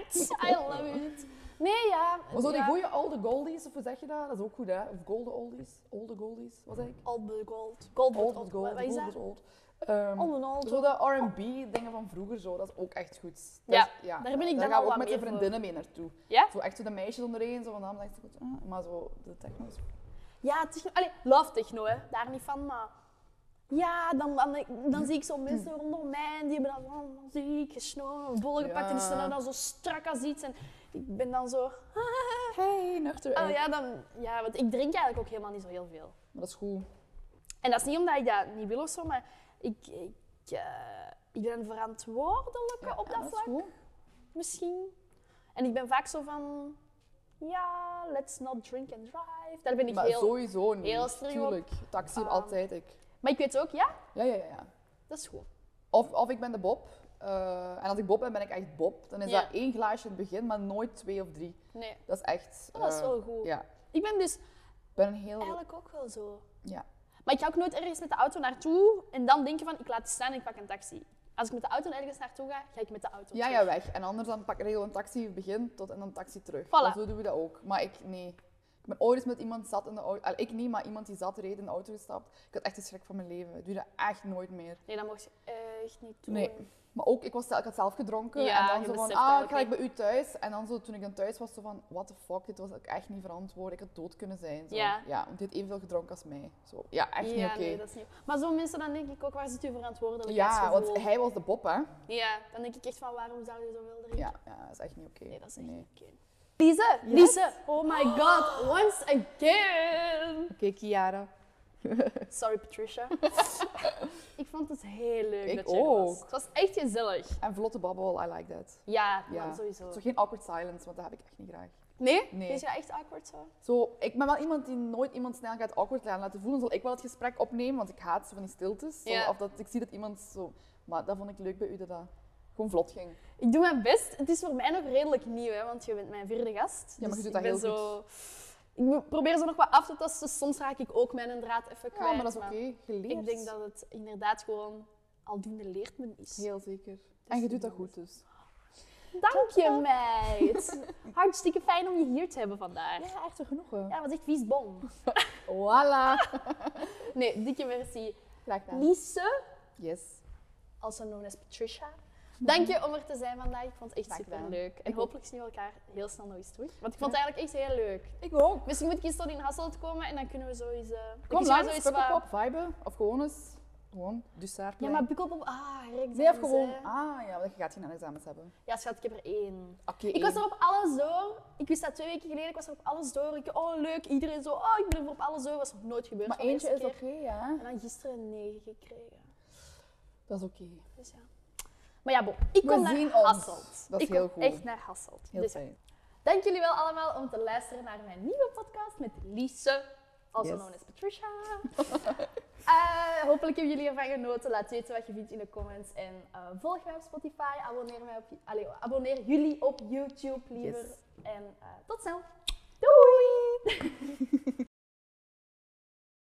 Speaker 2: love it. I love it. Nee, ja.
Speaker 1: Maar zo die
Speaker 2: ja.
Speaker 1: goede oude goldies, of hoe zeg je dat? Dat is ook goed, hè? Of golden oldies, olde goldies, wat zeg ik?
Speaker 2: Old but gold. Gold but
Speaker 1: Old
Speaker 2: gold.
Speaker 1: is gold,
Speaker 2: Wat is
Speaker 1: gold
Speaker 2: dat?
Speaker 1: is old. Ehm,
Speaker 2: Old and old.
Speaker 1: zo dat R&B-dingen van vroeger, zo, dat is ook echt goed.
Speaker 2: Ja,
Speaker 1: Dat-
Speaker 2: daar ben ik dan
Speaker 1: Daar gaan
Speaker 2: al
Speaker 1: we ook
Speaker 2: wat
Speaker 1: met de
Speaker 2: meer voor.
Speaker 1: vriendinnen mee naartoe.
Speaker 2: Ja?
Speaker 1: Zo echt zo de meisjes onderheen, zo van dames echt goed. eh, maar zo de techno is
Speaker 2: Ja, techno. Allee, love techno, hè. Daar niet van, maar... Ja, dan, dan, dan zie ik zo mensen rondom mij en die hebben dan zo'n muziek, gesnoren, bol gepakt en die staan dan zo strak als iets. En ik ben dan zo...
Speaker 1: Hey, nuchter.
Speaker 2: Oh
Speaker 1: ey.
Speaker 2: ja, dan, ja, want ik drink eigenlijk ook helemaal niet zo heel veel.
Speaker 1: Maar dat is goed.
Speaker 2: En dat is niet omdat ik dat niet wil of zo, maar ik, ik, eh, ik ben verantwoordelijke op
Speaker 1: Ja,
Speaker 2: dat
Speaker 1: is
Speaker 2: vlak,
Speaker 1: goed.
Speaker 2: misschien. En ik ben vaak zo van, ja, let's not drink and drive. Daar ben ik
Speaker 1: Maar
Speaker 2: heel...
Speaker 1: sowieso niet.
Speaker 2: heel streng op.
Speaker 1: Tuurlijk, taxi
Speaker 2: Ah.
Speaker 1: altijd ik.
Speaker 2: Maar ik weet ook, ja,
Speaker 1: Ja, ja, ja. ja.
Speaker 2: dat is goed.
Speaker 1: Of, of ik ben de Bob. eh, en als ik Bob ben, ben ik echt Bob. Dan is
Speaker 2: Ja.
Speaker 1: dat één glaasje in het begin, maar nooit twee of drie.
Speaker 2: Nee,
Speaker 1: Dat is echt.
Speaker 2: Oh, dat is
Speaker 1: eh,
Speaker 2: wel goed.
Speaker 1: Ja.
Speaker 2: Ik ben dus
Speaker 1: Ik ben een heel.
Speaker 2: eigenlijk ook wel zo.
Speaker 1: Ja.
Speaker 2: Maar ik ga ook nooit ergens met de auto naartoe en dan denken van, ik laat het staan en ik pak een taxi. Als ik met de auto ergens naartoe ga, ga ik met de auto
Speaker 1: Ja,
Speaker 2: terug.
Speaker 1: ja, weg. En anders dan pak ik regel een taxi, begin tot en dan taxi terug.
Speaker 2: Voilà.
Speaker 1: En Zo doen we dat ook. Maar ik, nee. Ik ben ooit eens met iemand zat in de auto. Allee, ik niet, maar iemand die zat reed in de auto gestapt. Ik had echt de schrik van mijn leven. Ik doe dat echt nooit meer.
Speaker 2: Nee, dat mocht je echt niet doen.
Speaker 1: Nee. Maar ook, ik, was, zel- ik had zelf gedronken.
Speaker 2: Ja,
Speaker 1: en dan
Speaker 2: je
Speaker 1: zo van,
Speaker 2: beseft
Speaker 1: ah,
Speaker 2: eigenlijk
Speaker 1: ik ga ik bij u thuis. En dan zo, toen ik dan thuis was, zo van, what the fuck, dit was ook echt niet verantwoord. Ik had dood kunnen zijn. Zo.
Speaker 2: Ja.
Speaker 1: want dit evenveel gedronken als mij. Zo. Ja, echt
Speaker 2: ja,
Speaker 1: niet oké.
Speaker 2: nee, dat is niet. Maar zo'n mensen, dan denk ik ook, waar zit uw
Speaker 1: Ja,
Speaker 2: verantwoordelijkheidsgevoel?
Speaker 1: want hij was de Bob, hè?
Speaker 2: Ja, dan denk ik echt van, waarom zou je zoveel drinken?
Speaker 1: Ja, ja dat is echt niet oké.
Speaker 2: Nee, dat is echt
Speaker 1: Nee.
Speaker 2: niet oké. Lise, Lise, oh my god, once again!
Speaker 1: Oké, Kiara.
Speaker 2: Sorry Patricia. ik vond het heel leuk
Speaker 1: Ik
Speaker 2: dat jij er was.
Speaker 1: ook.
Speaker 2: Het was echt gezellig.
Speaker 1: En vlotte babbel, I like that.
Speaker 2: Ja,
Speaker 1: Ja.
Speaker 2: man, sowieso.
Speaker 1: Zo geen awkward silence, want dat heb ik echt niet graag.
Speaker 2: Nee?
Speaker 1: Nee.
Speaker 2: Is je echt awkward zo?
Speaker 1: Zo, ik ben wel iemand die nooit iemand snel gaat awkward gaan laten voelen. Zal ik wel het gesprek opnemen, want ik haat zo van die stiltes. Zo,
Speaker 2: Ja.
Speaker 1: Of dat ik zie dat iemand zo... Maar dat vond ik leuk bij u, dat dat gewoon vlot ging.
Speaker 2: Ik doe mijn best. Het is voor mij nog redelijk nieuw, hè, want je bent mijn vierde gast.
Speaker 1: Ja, maar je
Speaker 2: Dus
Speaker 1: doet dat
Speaker 2: ik ben
Speaker 1: heel
Speaker 2: zo... Ik probeer zo nog wat af te tasten. Soms raak ik ook mijn draad even kwijt.
Speaker 1: Ja, maar dat is oké. Geleerd.
Speaker 2: Ik denk dat het inderdaad gewoon aldoende leert men is.
Speaker 1: Heel zeker. En je doet dat goed dus.
Speaker 2: Dank je, meid. Hartstikke fijn om je hier te hebben vandaag.
Speaker 1: Ja, echt een genoegen.
Speaker 2: Ja, wat echt vies bom.
Speaker 1: Voilà.
Speaker 2: Nee, dikke merci.
Speaker 1: Graag gedaan.
Speaker 2: Lise,
Speaker 1: Yes.
Speaker 2: also known as Patricia. Dank je om er te zijn vandaag. Ik vond het echt
Speaker 1: Graag gedaan.
Speaker 2: super leuk. En
Speaker 1: ook.
Speaker 2: hopelijk zien we elkaar heel snel nog eens terug. Want ik vond het eigenlijk echt heel leuk.
Speaker 1: Ik ook.
Speaker 2: Misschien moet ik eens tot in Hasselt komen en dan kunnen we zoiets. eh dan
Speaker 1: Kom
Speaker 2: kunnen we
Speaker 1: langs,
Speaker 2: zoiets
Speaker 1: Pukkelpop,
Speaker 2: wat-
Speaker 1: viben. Of gewoon eens... Gewoon, Dussaart.
Speaker 2: Ja, maar Pukkelpop. Ah, Rick.
Speaker 1: Nee, of gewoon... Ah, ja, want je gaat geen examens hebben.
Speaker 2: Ja, schat, ik heb er één.
Speaker 1: Oké,
Speaker 2: Ik was
Speaker 1: één.
Speaker 2: er op alles door. Ik wist dat twee weken geleden. Ik was er op alles door. Ik, oh, leuk. Iedereen zo. Oh, ik ben er op alles door. Was nog nooit gebeurd.
Speaker 1: Maar
Speaker 2: van de
Speaker 1: eentje is
Speaker 2: eerste
Speaker 1: oké,
Speaker 2: keer.
Speaker 1: ja.
Speaker 2: En dan gisteren een negen gekregen.
Speaker 1: Dat is oké.
Speaker 2: Dus ja. Maar ja, bon. Ik
Speaker 1: We
Speaker 2: kom naar
Speaker 1: zien ons.
Speaker 2: Hasselt.
Speaker 1: Dat is
Speaker 2: ik kom
Speaker 1: heel goed.
Speaker 2: echt naar Hasselt.
Speaker 1: Heel
Speaker 2: dus ja.
Speaker 1: fijn.
Speaker 2: Dank jullie wel allemaal om te luisteren naar mijn nieuwe podcast met Lise, also
Speaker 1: Yes.
Speaker 2: known as Patricia. Eh, hopelijk hebben jullie ervan genoten. Laat weten wat je vindt in de comments. En eh, volg mij op Spotify. Abonneer, mij op, allee, abonneer jullie op YouTube liever.
Speaker 1: Yes.
Speaker 2: En eh, tot snel. Doei!